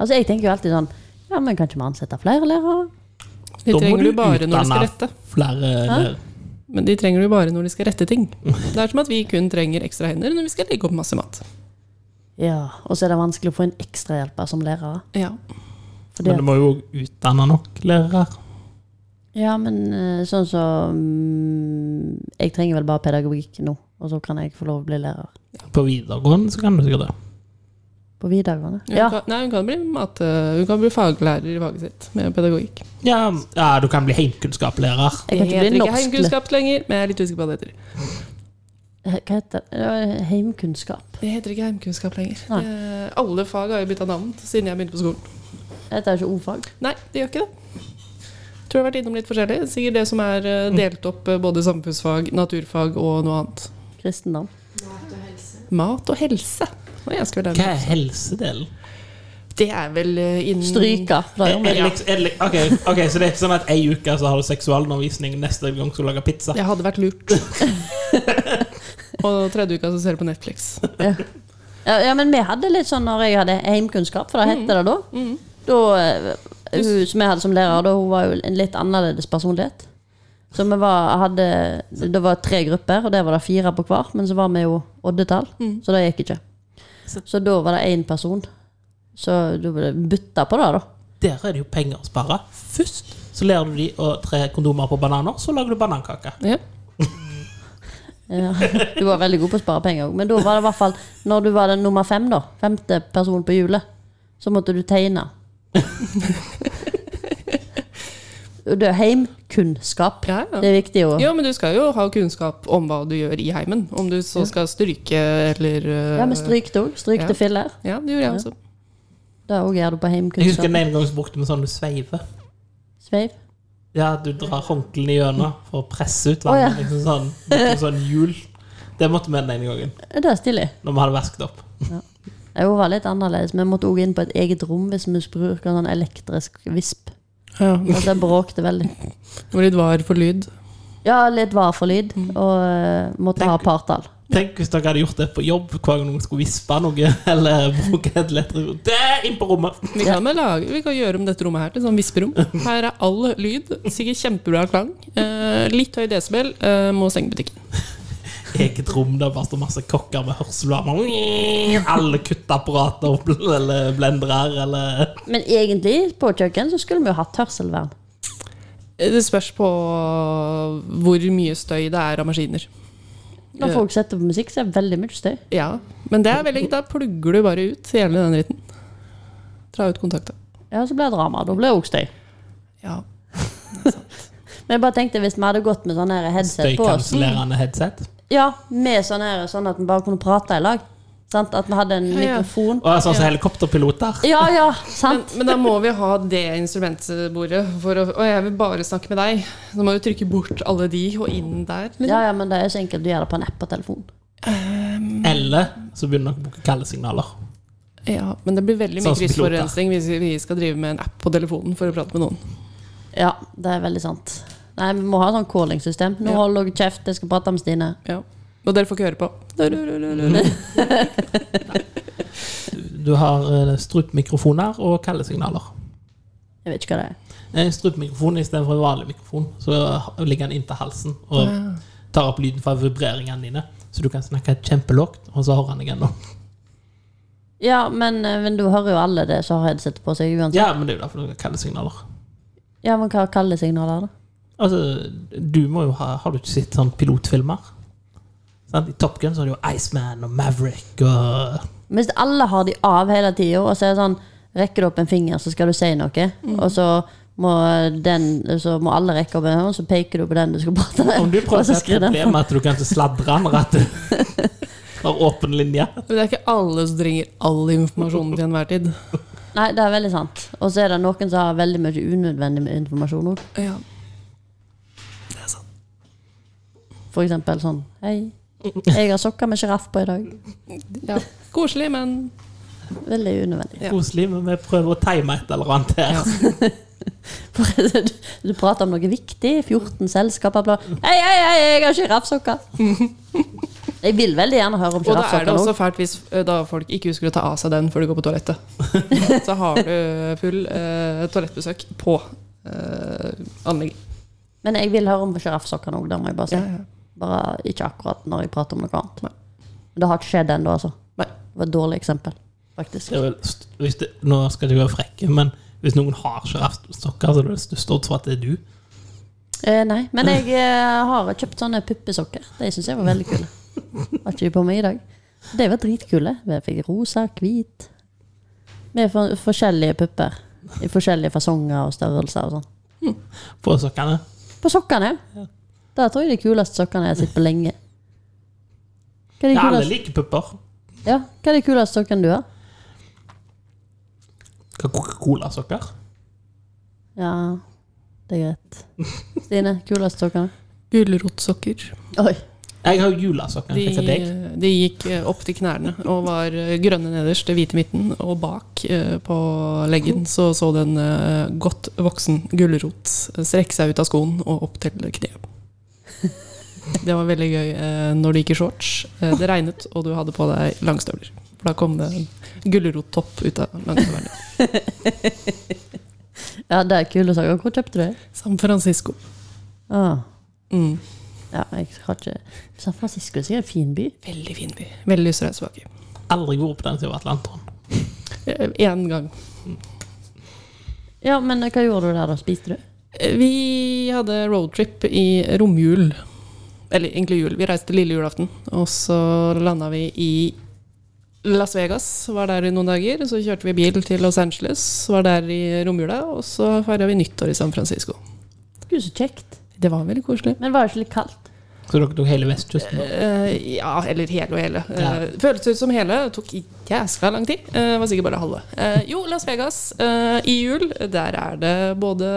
[SPEAKER 1] Altså, jeg tenker jo alltid sånn Ja, men kan ikke vi ansette flere lærere?
[SPEAKER 3] De
[SPEAKER 2] Da må
[SPEAKER 3] trenger
[SPEAKER 2] du
[SPEAKER 3] du bare når de skal
[SPEAKER 2] utdanne
[SPEAKER 3] rette.
[SPEAKER 2] Flere lærer-
[SPEAKER 3] Men de trenger du bare når de skal rette ting. Det er som at vi kun trenger ekstra hender når vi skal legge opp masse mat.
[SPEAKER 1] Ja. Og så er det vanskelig å få inn ekstrahjelper som lærere.
[SPEAKER 3] Ja.
[SPEAKER 1] Fordi,
[SPEAKER 2] Men du må jo også utdanne nok lærere.
[SPEAKER 1] ja, men eh, sånn som mm, Jeg trenger vel bare pedagogikk nå, og så kan jeg få lov å bli lærer.
[SPEAKER 2] På videregående så kan du sikkert det.
[SPEAKER 1] På videregående.
[SPEAKER 3] Hun,
[SPEAKER 1] Ja.
[SPEAKER 3] Kan, nei, hun, kan bli mat, eh, hun kan bli faglærer i faget sitt med pedagogikk.
[SPEAKER 2] Ja, ja du kan bli heimkunnskapslærer.
[SPEAKER 1] Jeg kan ikke
[SPEAKER 3] Det
[SPEAKER 1] bli
[SPEAKER 3] heter ikke
[SPEAKER 1] norsk lærer.
[SPEAKER 3] heimkunnskap lenger, men jeg er litt usikker på hva det heter.
[SPEAKER 1] Hva heter det? Eh, Heimkunnskap.
[SPEAKER 3] Det heter ikke heimkunnskap lenger.
[SPEAKER 1] Nei.
[SPEAKER 3] Eh, alle fag har jo bytta navn siden jeg begynte på skolen.
[SPEAKER 1] Det heter jo ikke ordfag.
[SPEAKER 3] Nei, det gjør ikke det. Tror jeg har vært innom litt forskjellig. Sikkert det som er eh,
[SPEAKER 1] Mm.
[SPEAKER 3] delt opp eh, både samfunnsfag, naturfag og noe annet.
[SPEAKER 1] Kristendom.
[SPEAKER 5] Mat og helse.
[SPEAKER 3] Mat og helse. Og jeg skal
[SPEAKER 2] Hva
[SPEAKER 3] lære
[SPEAKER 2] er helsedelen?
[SPEAKER 3] meg. Det er vel eh,
[SPEAKER 1] Mm.
[SPEAKER 3] innen
[SPEAKER 1] Stryke. Da
[SPEAKER 2] Er
[SPEAKER 1] gjør vi
[SPEAKER 2] det
[SPEAKER 1] det.
[SPEAKER 2] liksom- er det li- ok, ok, så det er ikke sånn at ei uke så har du seksualundervisning, neste gang skal du lage pizza.
[SPEAKER 3] Det hadde
[SPEAKER 1] [laughs]
[SPEAKER 3] vært lurt. og tredje uka så ser du på Netflix.
[SPEAKER 1] Ja, ja, men vi hadde litt sånn når jeg hadde heimkunnskap, for det hette det da. da eh, hun som jeg hadde som lærer, da, hun var jo en litt annerledes personlighet. Så vi var, hadde, det var tre grupper, og der var det fire på hver, men så var vi jo oddetall, så det gikk ikke. Så da var det én person. Så du bytta på det, da.
[SPEAKER 2] Der er det jo penger å spare. Først så lærer du de å tre kondomer på bananer, så lager du banankake.
[SPEAKER 3] Ja.
[SPEAKER 1] Ja. Du var veldig god på å spare penger òg, men da var det i hvert fall Når du var den nummer fem, da, femte person på hjulet, så måtte du tegne.
[SPEAKER 2] [laughs]
[SPEAKER 1] Og Det er heimkunnskap.
[SPEAKER 3] Ja, ja.
[SPEAKER 1] Det er viktig å
[SPEAKER 3] Ja, men du skal jo ha kunnskap om hva du gjør i heimen. Om du så skal stryke eller eh,
[SPEAKER 1] Ja, men stryk det òg. Stryk
[SPEAKER 3] Ja.
[SPEAKER 1] til filler.
[SPEAKER 3] Ja, det gjorde jeg også.
[SPEAKER 1] Det òg gjør du på
[SPEAKER 2] Jeg husker den
[SPEAKER 1] heimkunnskap.
[SPEAKER 2] ene gang så brukte vi sånn du sveiver.
[SPEAKER 1] Sveiv.
[SPEAKER 2] Ja, du drar håndklærne gjennom for å presse ut
[SPEAKER 1] Å, ja.
[SPEAKER 2] vannet. Liksom sånn, liksom sånn hjul. Det måtte vi den ene gangen,
[SPEAKER 1] Det er stilig.
[SPEAKER 2] når vi hadde vasket opp.
[SPEAKER 1] Jeg var litt annerledes. Vi måtte òg inn på et eget rom hvis vi skulle bruke en sånn elektrisk visp.
[SPEAKER 3] Ja.
[SPEAKER 1] Og det bråkte veldig.
[SPEAKER 3] Hvor litt var for lyd.
[SPEAKER 1] Ja, litt var for lyd, og eh, måtte ha partall.
[SPEAKER 2] Mm. Tenk hvis dere hadde gjort det på jobb hver gang noen skulle vispe noe, [laughs] eller bruke et lettere Det er inn på rommet!
[SPEAKER 3] Vi kan, vel lage, vi kan gjøre om dette rommet her til sånn visperom. Her er all lyd. Sikkert kjempebra klang. Eh, litt høy desibel. Eh, må stenge butikken.
[SPEAKER 2] Eget rom der bare står masse kokker med hørselvarmer. Alle kutteapparater bl- eller blendere eller
[SPEAKER 1] Men egentlig, på kjøkken så skulle vi jo hatt hørselvern.
[SPEAKER 3] Eh, Det spørs på hvor mye støy det er av maskiner.
[SPEAKER 1] Når folk setter på musikk, så er det veldig mye støy.
[SPEAKER 3] Ja, men det er veldig, da plugger du bare ut hele den dritten. Dra ut kontakta.
[SPEAKER 1] Ja, så blir det drama. Da blir det òg støy.
[SPEAKER 3] Ja.
[SPEAKER 1] Men jeg bare tenkte hvis vi hadde gått med sånne her headset på oss
[SPEAKER 2] støykansellerende headset.
[SPEAKER 1] Ja, med sånne her, sånn at vi bare kunne prate i lag. Sant? At vi hadde en
[SPEAKER 3] Ja, ja.
[SPEAKER 1] mikrofon.
[SPEAKER 2] Og sånn som helikopterpiloter.
[SPEAKER 1] Ja, ja,
[SPEAKER 3] Men,
[SPEAKER 1] sant.
[SPEAKER 3] men da må vi ha det instrumentbordet for å Og jeg vil bare snakke med deg. Så må du trykke bort alle de og inn der. liksom.
[SPEAKER 1] Ja, ja, men det er så enkelt. Du gjør det på en app på telefonen.
[SPEAKER 2] Eller så begynner dere å bruke kallesignaler.
[SPEAKER 3] Ja, men det blir veldig mye
[SPEAKER 2] Sånn som piloter.
[SPEAKER 3] kryssforurensning hvis vi skal drive med en app på telefonen for å prate med noen.
[SPEAKER 1] Ja, det er veldig sant. Nei, vi må ha sånn callingsystem. Nå
[SPEAKER 3] Ja.
[SPEAKER 1] holder dere kjeft, jeg skal prate med Stine.
[SPEAKER 3] Ja. Og dere får ikke høre på. Mm.
[SPEAKER 2] Du har eh, strupmikrofoner og kallesignaler.
[SPEAKER 1] Jeg vet ikke hva det er.
[SPEAKER 2] En strupmikrofon istedenfor en vanlig mikrofon, så ligger den inntil halsen og tar opp lyden fra vibreringene dine. Så du kan snakke kjempelågt, og så hører han deg ennå.
[SPEAKER 1] Ja, men, eh, men du hører jo alle det som har headset på seg uansett.
[SPEAKER 2] Ja, men det er jo derfor du har kallesignaler.
[SPEAKER 1] Ja, men hva kaller signaler, da?
[SPEAKER 2] Altså, du må jo ha Har du ikke sett sånn pilotfilmer? Sant? I Top Gun så har du jo Iceman og Maverick og
[SPEAKER 1] Hvis alle har de av hele tida, og så er det sånn Rekker du opp en finger, så skal du si noe. Og så må, den, så må alle rekke opp en hånd, så peker du på den du skal prate med.
[SPEAKER 2] Om
[SPEAKER 1] [laughs]
[SPEAKER 2] du
[SPEAKER 1] og
[SPEAKER 2] prøver
[SPEAKER 1] så
[SPEAKER 2] å se
[SPEAKER 1] skrur
[SPEAKER 2] et
[SPEAKER 1] den
[SPEAKER 2] problem med at du kan ikke sladre den, eller at du har åpen linje
[SPEAKER 3] Men det er ikke alle som trenger all informasjonen til enhver tid.
[SPEAKER 1] på. Nei, det er veldig sant. Og så er det noen som har veldig mye unødvendig informasjon òg.
[SPEAKER 3] Ja.
[SPEAKER 2] sånn
[SPEAKER 1] For eksempel sånn Hei, jeg har sokker med sjiraff på i dag.
[SPEAKER 3] ja. Koselig, men
[SPEAKER 1] Veldig unødvendig. [laughs]
[SPEAKER 3] Ja.
[SPEAKER 2] Koselig, men vi prøver å time et eller annet her.
[SPEAKER 1] For du, du prater om noe viktig. 14 selskaper bla. Hei, hei, hei, jeg har sjiraffsokker! Jeg vil veldig gjerne høre om
[SPEAKER 3] Og da er det
[SPEAKER 1] sjiraffsokker
[SPEAKER 3] også
[SPEAKER 1] nå.
[SPEAKER 3] fælt hvis eh, da folk ikke husker å ta av seg den før du går på toalettet. [laughs] Så har du full eh, toalettbesøk på eh, anlegget.
[SPEAKER 1] Men jeg vil høre om sjiraffsokker nå, det må jeg bare si.
[SPEAKER 3] Ja, ja.
[SPEAKER 1] Bare ikke akkurat når jeg prater om noe annet.
[SPEAKER 3] Nei.
[SPEAKER 1] Men det har ikke skjedd ennå, altså.
[SPEAKER 3] Nei.
[SPEAKER 1] Det var et dårlig eksempel, faktisk.
[SPEAKER 2] Det er vel, st- hvis det, nå skal jeg ikke være frekk, men hvis noen har sjiraffsokker, så er det vel størst odds for at det er du.
[SPEAKER 1] Eh, nei, men jeg eh, har kjøpt sånne puppesokker. De syns jeg var veldig kule. Har ikke de på meg i dag. De var dritkule. Jeg fikk rosa, hvit. Med for, forskjellige pupper. I forskjellige fasonger og størrelser og sånn.
[SPEAKER 2] På sokkene.
[SPEAKER 1] På sokkene. Der tror jeg de kuleste sokkene jeg har sett på lenge. Hva er de
[SPEAKER 2] Ja, alle
[SPEAKER 1] kuleste,
[SPEAKER 2] liker pupper.
[SPEAKER 1] ja, hva er de kuleste sokkene du har?
[SPEAKER 2] Coca-Cola-sokker.
[SPEAKER 1] Ja, det er greit. [laughs] Stine, kuleste sokkene?
[SPEAKER 3] Gulrotsokker.
[SPEAKER 1] Oi.
[SPEAKER 2] Jeg har julasokker.
[SPEAKER 3] De,
[SPEAKER 2] De... Deg.
[SPEAKER 3] de gikk eh, opp til knærne og var eh, grønne nederst, det hvite i midten, og bak eh, på leggen så så den eh, godt voksen gulrot eh, strekke seg ut av skoen og opp til [laughs] kneet. Det var veldig gøy eh, når du gikk i shorts. eh, Det regnet, og du hadde på deg langstøvler. For da kom det en gulrottopp ut av langstøvlene.
[SPEAKER 1] Ja, det er kule sokker. Hvor kjøpte du dem?
[SPEAKER 3] [laughs] San Francisco.
[SPEAKER 1] Ah.
[SPEAKER 3] Mm.
[SPEAKER 1] Ja, jeg har ikke San Francisco er sikkert en fin by.
[SPEAKER 3] Veldig fin by. Veldig lyst til å reise tilbake.
[SPEAKER 2] Aldri vært på den siden av Atlanteren.
[SPEAKER 3] Én Eh, gang.
[SPEAKER 1] Ja, men eh, hva gjorde du der da? Spiste du?
[SPEAKER 3] Eh, Vi hadde roadtrip i romjul. Eller egentlig jul. Vi reiste lille julaften, og så landa vi i Las Vegas. Var der i noen dager. Så kjørte vi bil til Los Angeles, var der i romjula, og så feira vi nyttår i San Francisco.
[SPEAKER 1] Gud, så kjekt.
[SPEAKER 3] Det var veldig koselig.
[SPEAKER 1] Men var det ikke litt kaldt?
[SPEAKER 2] Så dere tok hele vestkysten. da?
[SPEAKER 3] Eh, ja, eller hele og hele. Eh,
[SPEAKER 2] Ja.
[SPEAKER 3] føltes ut som hele. Det tok jæskla lang tid. Eh, var sikkert bare halve. Eh, jo, Las Vegas eh, i jul. Der er det både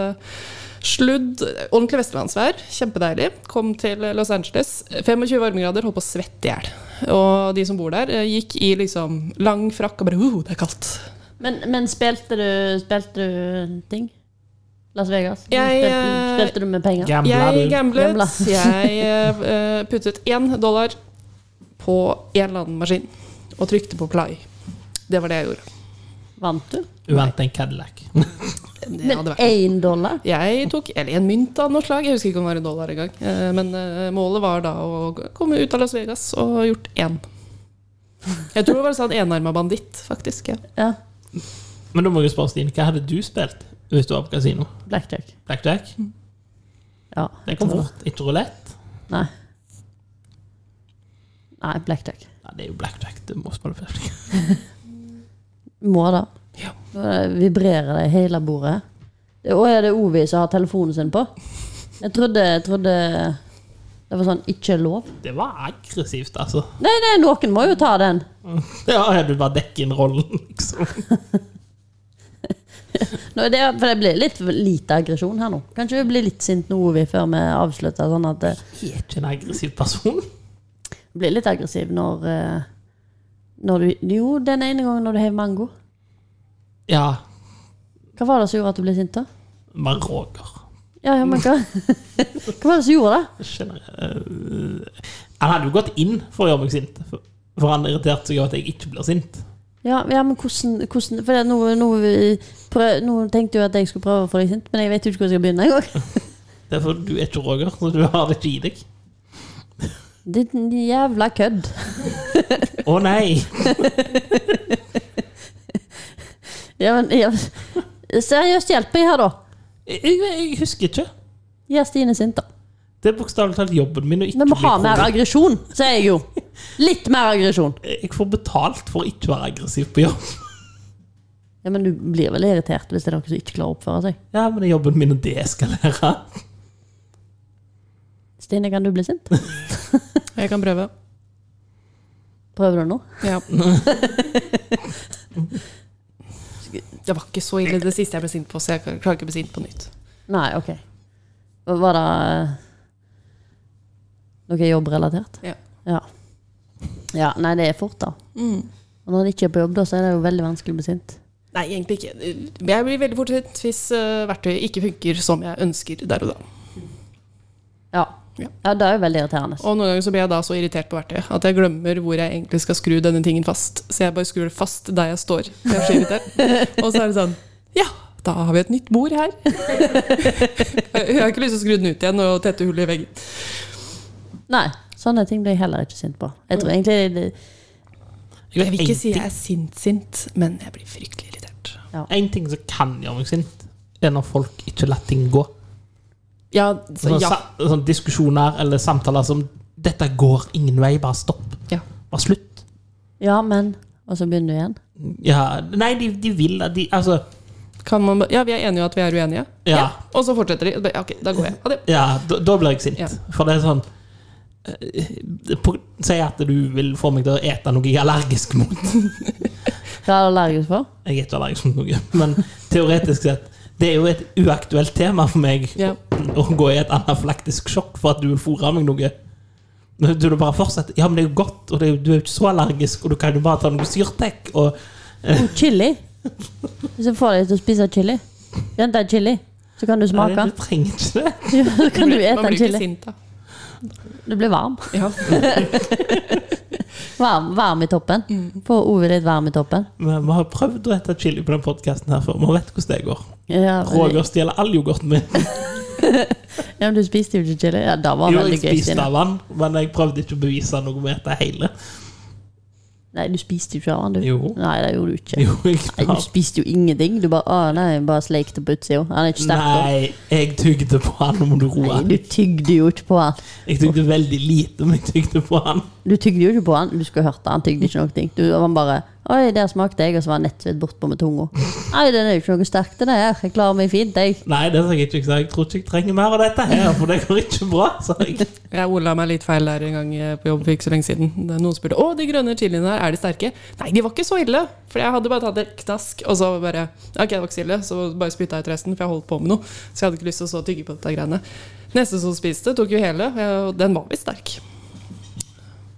[SPEAKER 3] sludd Ordentlig vestlandsvær. Kjempedeilig. Kom til Los Angeles. 25 varmegrader, holdt på å svette i hjel. Og de som bor der, eh, gikk i liksom lang frakk og bare uh, det er kaldt.
[SPEAKER 1] Men, men spilte, du, spilte du ting? Las Vegas?
[SPEAKER 3] Jeg,
[SPEAKER 1] spilte,
[SPEAKER 3] eh,
[SPEAKER 1] spilte du med penger?
[SPEAKER 2] Gambla,
[SPEAKER 3] Jeg
[SPEAKER 2] du.
[SPEAKER 3] gamblet.
[SPEAKER 1] Gambla.
[SPEAKER 3] [laughs] jeg eh, puttet én dollar på en eller annen maskin og trykte på play. Det var det jeg gjorde.
[SPEAKER 1] Vant du?
[SPEAKER 2] Uvant en Cadillac.
[SPEAKER 3] Det
[SPEAKER 1] Men
[SPEAKER 3] hadde vært.
[SPEAKER 1] én dollar?
[SPEAKER 3] Jeg tok eller en mynt av noe slag, jeg husker ikke om det var en dollar engang. Eh, Men eh, målet var da å komme ut av Las Vegas og gjort én. Jeg tror det var en sånn enarma banditt, faktisk. Ja.
[SPEAKER 1] Ja.
[SPEAKER 2] [laughs] Men da må jeg spørre Stine, hva hadde du spilt hvis du var på kasino?
[SPEAKER 1] Blackjack.
[SPEAKER 2] Blackjack?
[SPEAKER 1] Ja.
[SPEAKER 2] Det kom fort. Ikke rulett.
[SPEAKER 1] Nei. Nei, blackjack.
[SPEAKER 2] Ja, det er jo blackjack. Du må spille blackjack.
[SPEAKER 1] Må da.
[SPEAKER 3] Ja.
[SPEAKER 1] Nå er det- vibrerer det i hele bordet. Det, og er det Ovi som har telefonen sin på? Jeg trodde, jeg trodde det var sånn ikke lov.
[SPEAKER 2] [laughs] Det var aggressivt, altså.
[SPEAKER 1] Nei, nei, noen må jo ta den.
[SPEAKER 2] [laughs] Ja, du bare dekker inn rollen, liksom.
[SPEAKER 1] Nå, er det, for det blir litt for lite aggresjon her nå. Kanskje vi blir litt sint nå, Ovi, før vi avslutter. Sånn at det
[SPEAKER 2] Jeg er ikke en aggressiv person.
[SPEAKER 1] blir litt aggressiv når, eh, når du Jo, den ene gangen når du heiv mango.
[SPEAKER 2] Ja,
[SPEAKER 1] Hva var det som gjorde at du ble sint, da?
[SPEAKER 2] bare Roger.
[SPEAKER 1] Ja, ja, men hva? [laughs] hva var det som gjorde det?
[SPEAKER 2] Generell- øh, Han hadde jo gått inn for å gjøre meg sint, for- for han irriterte seg over at jeg ikke blir sint.
[SPEAKER 1] Ja, ja men hvordan, hvordan For det, er nå, nå, prøv, nå tenkte jeg at jeg skulle prøve å få deg sint, men jeg vet jo ikke hvor jeg skal begynne engang.
[SPEAKER 2] Det er fordi du er ikke Roger, så du har det ikke i deg.
[SPEAKER 1] Ditt jævla kødd.
[SPEAKER 2] Å nei!
[SPEAKER 1] Ja, men, ja. Seriøst, hjelp meg her, da.
[SPEAKER 2] Jeg, jeg husker ikke.
[SPEAKER 1] Gjør Stine sint, da.
[SPEAKER 2] Det er bokstavelig talt jobben min å ikke
[SPEAKER 1] Vi må
[SPEAKER 2] bli
[SPEAKER 1] ha mer
[SPEAKER 2] kronisk.
[SPEAKER 1] aggresjon, sier jeg jo. Litt mer aggresjon.
[SPEAKER 2] Jeg får betalt for å ikke være aggressiv på jobb.
[SPEAKER 1] Ja, Men du blir vel irritert hvis det er noen som ikke klarer å oppføre seg?
[SPEAKER 2] Ja, men det er jobben min å deeskalere.
[SPEAKER 1] Stine, kan du bli sint?
[SPEAKER 3] Jeg kan prøve.
[SPEAKER 1] Prøver du nå?
[SPEAKER 3] Ja. Det var ikke så ille det siste jeg ble sint på, så jeg klarer ikke å bli sint på nytt.
[SPEAKER 1] Nei, OK. Var det eh, noe jobbrelatert?
[SPEAKER 3] Ja.
[SPEAKER 1] Ja. ja. Nei, det er fort, da.
[SPEAKER 3] Mm.
[SPEAKER 1] Og når en ikke er på jobb, da, så er det jo veldig vanskelig å bli sint.
[SPEAKER 3] Nei, egentlig ikke. Men Jeg blir veldig fort sint hvis eh, verktøyet ikke funker som jeg ønsker der og da.
[SPEAKER 1] Ja.
[SPEAKER 3] Ja.
[SPEAKER 1] Ja, det er jo veldig irriterende.
[SPEAKER 3] Og noen ganger så blir jeg da så irritert på verktøyet at jeg glemmer hvor jeg egentlig skal skru denne tingen fast. Så jeg bare skrur det fast der jeg står. Jeg er så [laughs] irritert. Og så er det sånn Ja, da har vi et nytt bord her. [laughs] Jeg har ikke lyst til å skru den ut igjen og tette hullet i veggen.
[SPEAKER 1] Nei, sånne ting blir jeg heller ikke sint på. Jeg
[SPEAKER 3] Mm.
[SPEAKER 1] tror egentlig det,
[SPEAKER 2] Jeg
[SPEAKER 3] Jeg vil ikke si
[SPEAKER 2] en,
[SPEAKER 3] jeg er sint-sint, men jeg blir fryktelig irritert.
[SPEAKER 2] ting, en ting som kan gjøre meg sint, er når folk ikke lar ting gå.
[SPEAKER 3] Ja, så
[SPEAKER 2] Sånne,
[SPEAKER 3] ja.
[SPEAKER 2] sa- sånne diskusjoner eller samtaler som 'Dette går ingen vei, bare stopp'.
[SPEAKER 3] ja.
[SPEAKER 2] Bare slutt.
[SPEAKER 1] Ja, men Og så begynner du igjen.
[SPEAKER 2] Ja, nei, de, de vil at de Altså,
[SPEAKER 3] Kan man, ba- ja, vi er enige om at vi er uenige.
[SPEAKER 2] Ja.
[SPEAKER 3] Og så fortsetter de. Og bare, ja, Ok, da går jeg. Ha det.
[SPEAKER 2] ja, da, da blir jeg sint.
[SPEAKER 3] Ja.
[SPEAKER 2] For det er sånn eh, på- Si at du vil få meg til å ete noe jeg er allergisk mot.
[SPEAKER 1] Hva er du allergisk
[SPEAKER 3] [laughs]
[SPEAKER 1] for?
[SPEAKER 2] Jeg er ikke allergisk mot noe, [laughs] men teoretisk sett Det er jo et uaktuelt tema for meg
[SPEAKER 3] Ja.
[SPEAKER 2] å gå i et anafylaktisk sjokk for at du vil fôre meg noe. Men Du vil bare fortsette. Ja, men det er jo godt, og det er jo, du er jo ikke så allergisk, og du kan jo bare ta noe syrtek. Og
[SPEAKER 1] Oh, chili. Hvis jeg får deg til å spise chili, Vent, det er chili, så kan du smake.
[SPEAKER 2] Nei, du trenger ikke det.
[SPEAKER 1] [laughs] Ja, så kan du
[SPEAKER 3] Man
[SPEAKER 1] ete en
[SPEAKER 3] blir ikke
[SPEAKER 1] chili.
[SPEAKER 3] sint da.
[SPEAKER 1] Du blir varm.
[SPEAKER 3] Ja. [laughs]
[SPEAKER 1] Varm, varm i toppen.
[SPEAKER 3] Mm.
[SPEAKER 1] Får ordet ditt varm i toppen.
[SPEAKER 2] Men vi har prøvd å ete chili på den podkasten her før. Vi vet hvordan det går.
[SPEAKER 1] Ja, men,
[SPEAKER 2] Roger stjeler all yoghurten min.
[SPEAKER 1] ja, men du spiste jo ikke chili. Ja, det var
[SPEAKER 2] Jo,
[SPEAKER 1] veldig
[SPEAKER 2] jeg
[SPEAKER 1] gøy.
[SPEAKER 2] spiste
[SPEAKER 1] Stine.
[SPEAKER 2] av den, men jeg prøvde ikke å bevise noe med dette hele.
[SPEAKER 1] Nei, du spiste jo ikke av den, du.
[SPEAKER 2] Jo.
[SPEAKER 1] Nei, det gjorde du ikke.
[SPEAKER 2] Jo, jeg
[SPEAKER 1] Nei, du spiste jo ingenting. Du bare å nei, bare sleikte på utsida. Han er ikke sterk. nok.
[SPEAKER 2] Nei, jeg tygde på han. Nå må du roe
[SPEAKER 1] Nei,
[SPEAKER 2] deg.
[SPEAKER 1] du tygde jo ikke på han.
[SPEAKER 2] Jeg tygde veldig lite, men jeg tygde på han.
[SPEAKER 1] Du tygde jo ikke på han, du skulle hørt det. Han tygde ikke noe. ting. Du, han bare Oi, der smakte jeg, og så var han nett vidt bortpå med tunga. Nei, den er jo ikke noe sterk, den her. Jeg klarer meg fint, jeg.
[SPEAKER 2] Nei, det sa jeg ikke. Jeg sa, Jeg tror ikke jeg trenger mer av dette her, for det går ikke bra. sa jeg.
[SPEAKER 3] Jeg ola meg litt feil der en gang eh, på jobb for ikke så lenge siden. Da Noen spurte å, de grønne chiliene her, er de sterke? Nei, de var ikke så ille. For jeg hadde bare tatt et knask, og så bare Ok, det var ikke så ille, så bare spytta jeg ut resten, for jeg holdt på med noe. Så jeg hadde ikke lyst til å stå og tygge på dette greiene. Neste som spiste, tok jo hele, og den var visst sterk.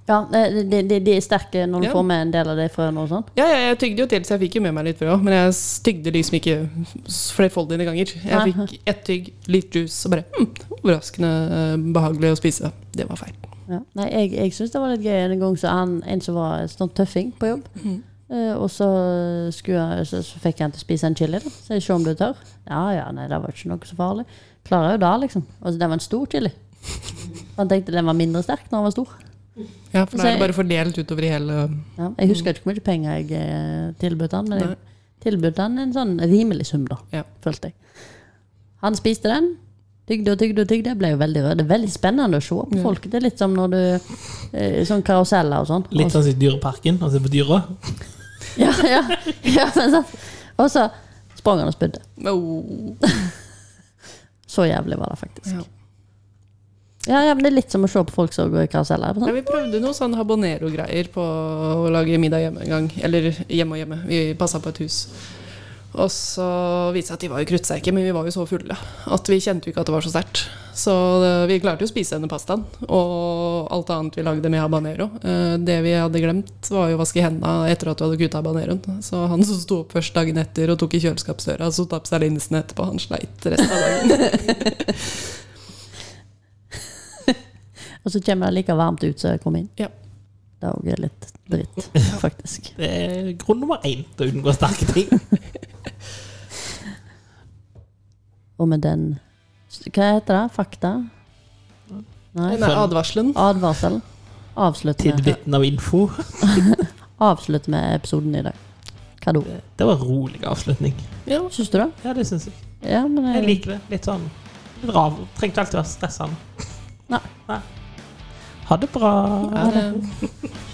[SPEAKER 1] Ja, de, de, de er sterke når du
[SPEAKER 3] Ja.
[SPEAKER 1] får med en del av de frøene og sånn.
[SPEAKER 3] Ja, ja, jeg tygde jo til, så jeg fikk jo med meg litt frø òg, men jeg tygde liksom ikke s- flerfoldige ganger. Jeg
[SPEAKER 1] Nei.
[SPEAKER 3] fikk ett tygg, litt juice, og bare hm, overraskende eh, behagelig å spise. Det var feil.
[SPEAKER 1] Ja. Nei, jeg, jeg syns det var litt gøy en gang så han, en som var en sånn tøffing på jobb. eh, og så, skulle, han- så, så fikk jeg han til å spise en chili. da. Så jeg ser om du tør. Ja ja, nei, det var ikke noe så farlig. Klarer jo det, liksom. Og så den var en stor chili. Han tenkte den var mindre sterk når den var stor.
[SPEAKER 3] Ja, for
[SPEAKER 1] Så
[SPEAKER 3] da er
[SPEAKER 1] jeg-
[SPEAKER 3] det bare fordelt utover i hele
[SPEAKER 1] Ja, jeg husker ikke hvor mye penger jeg eh, tilbød han, men jeg
[SPEAKER 3] Nei.
[SPEAKER 1] tilbød han en sånn rimelig sum, da,
[SPEAKER 3] Ja.
[SPEAKER 1] følte jeg. Han spiste den. Tygde og tygde og tygde. Jeg ble jo veldig rød. Det er veldig spennende å se på folk. Det er litt som når du eh, Sånn karuseller og sånn.
[SPEAKER 2] Litt
[SPEAKER 1] Og-
[SPEAKER 2] sånn som i Dyreparken, altså på dyra.
[SPEAKER 1] Ja, ja, ja, men sant. Og så sprang han og spydde.
[SPEAKER 3] oh.
[SPEAKER 1] Så jævlig var det faktisk.
[SPEAKER 3] Ja.
[SPEAKER 1] Ja, ja, men Det er litt som å se på folk som går i karuseller.
[SPEAKER 3] Ja,
[SPEAKER 1] Sånn.
[SPEAKER 3] vi prøvde noe sånn habanero-greier på å lage middag hjemme en gang. Eller hjemme og hjemme. Vi passa på et hus. Og så viste det seg at de var jo kruttsterke, men vi var jo så fulle at vi kjente jo ikke at det var så sterkt. Så eh, vi klarte jo å spise denne pastaen og alt annet vi lagde med habanero. Eh, Det vi hadde glemt, var jo å vaske hendene etter at du hadde kutta habaneroen. Så han som sto opp først dagen etter og tok i kjøleskapsdøra, så tapp seg linsene etterpå. Han sleit resten av dagen.
[SPEAKER 1] Og så kommer det like varmt ut som jeg kom inn.
[SPEAKER 3] Ja.
[SPEAKER 1] Det er også litt dritt, faktisk.
[SPEAKER 2] Det er grunn nummer én til å unngå sterke ting.
[SPEAKER 1] Og med den Hva heter det? Fakta? Nei.
[SPEAKER 3] Denne advarselen.
[SPEAKER 1] Advarsel. Avslutt med,
[SPEAKER 2] Tidbiten av info.
[SPEAKER 1] avslutt med episoden i dag. Kado.
[SPEAKER 2] Det var en rolig avslutning.
[SPEAKER 3] Ja.
[SPEAKER 1] Syns du det?
[SPEAKER 2] Ja, det syns jeg.
[SPEAKER 1] Ja, men
[SPEAKER 2] Jeg
[SPEAKER 1] jeg,
[SPEAKER 2] liker det. Litt sånn litt rav. Trengte alltid være stressende.
[SPEAKER 1] Nei.
[SPEAKER 2] Nei. Ha det bra.
[SPEAKER 3] Er det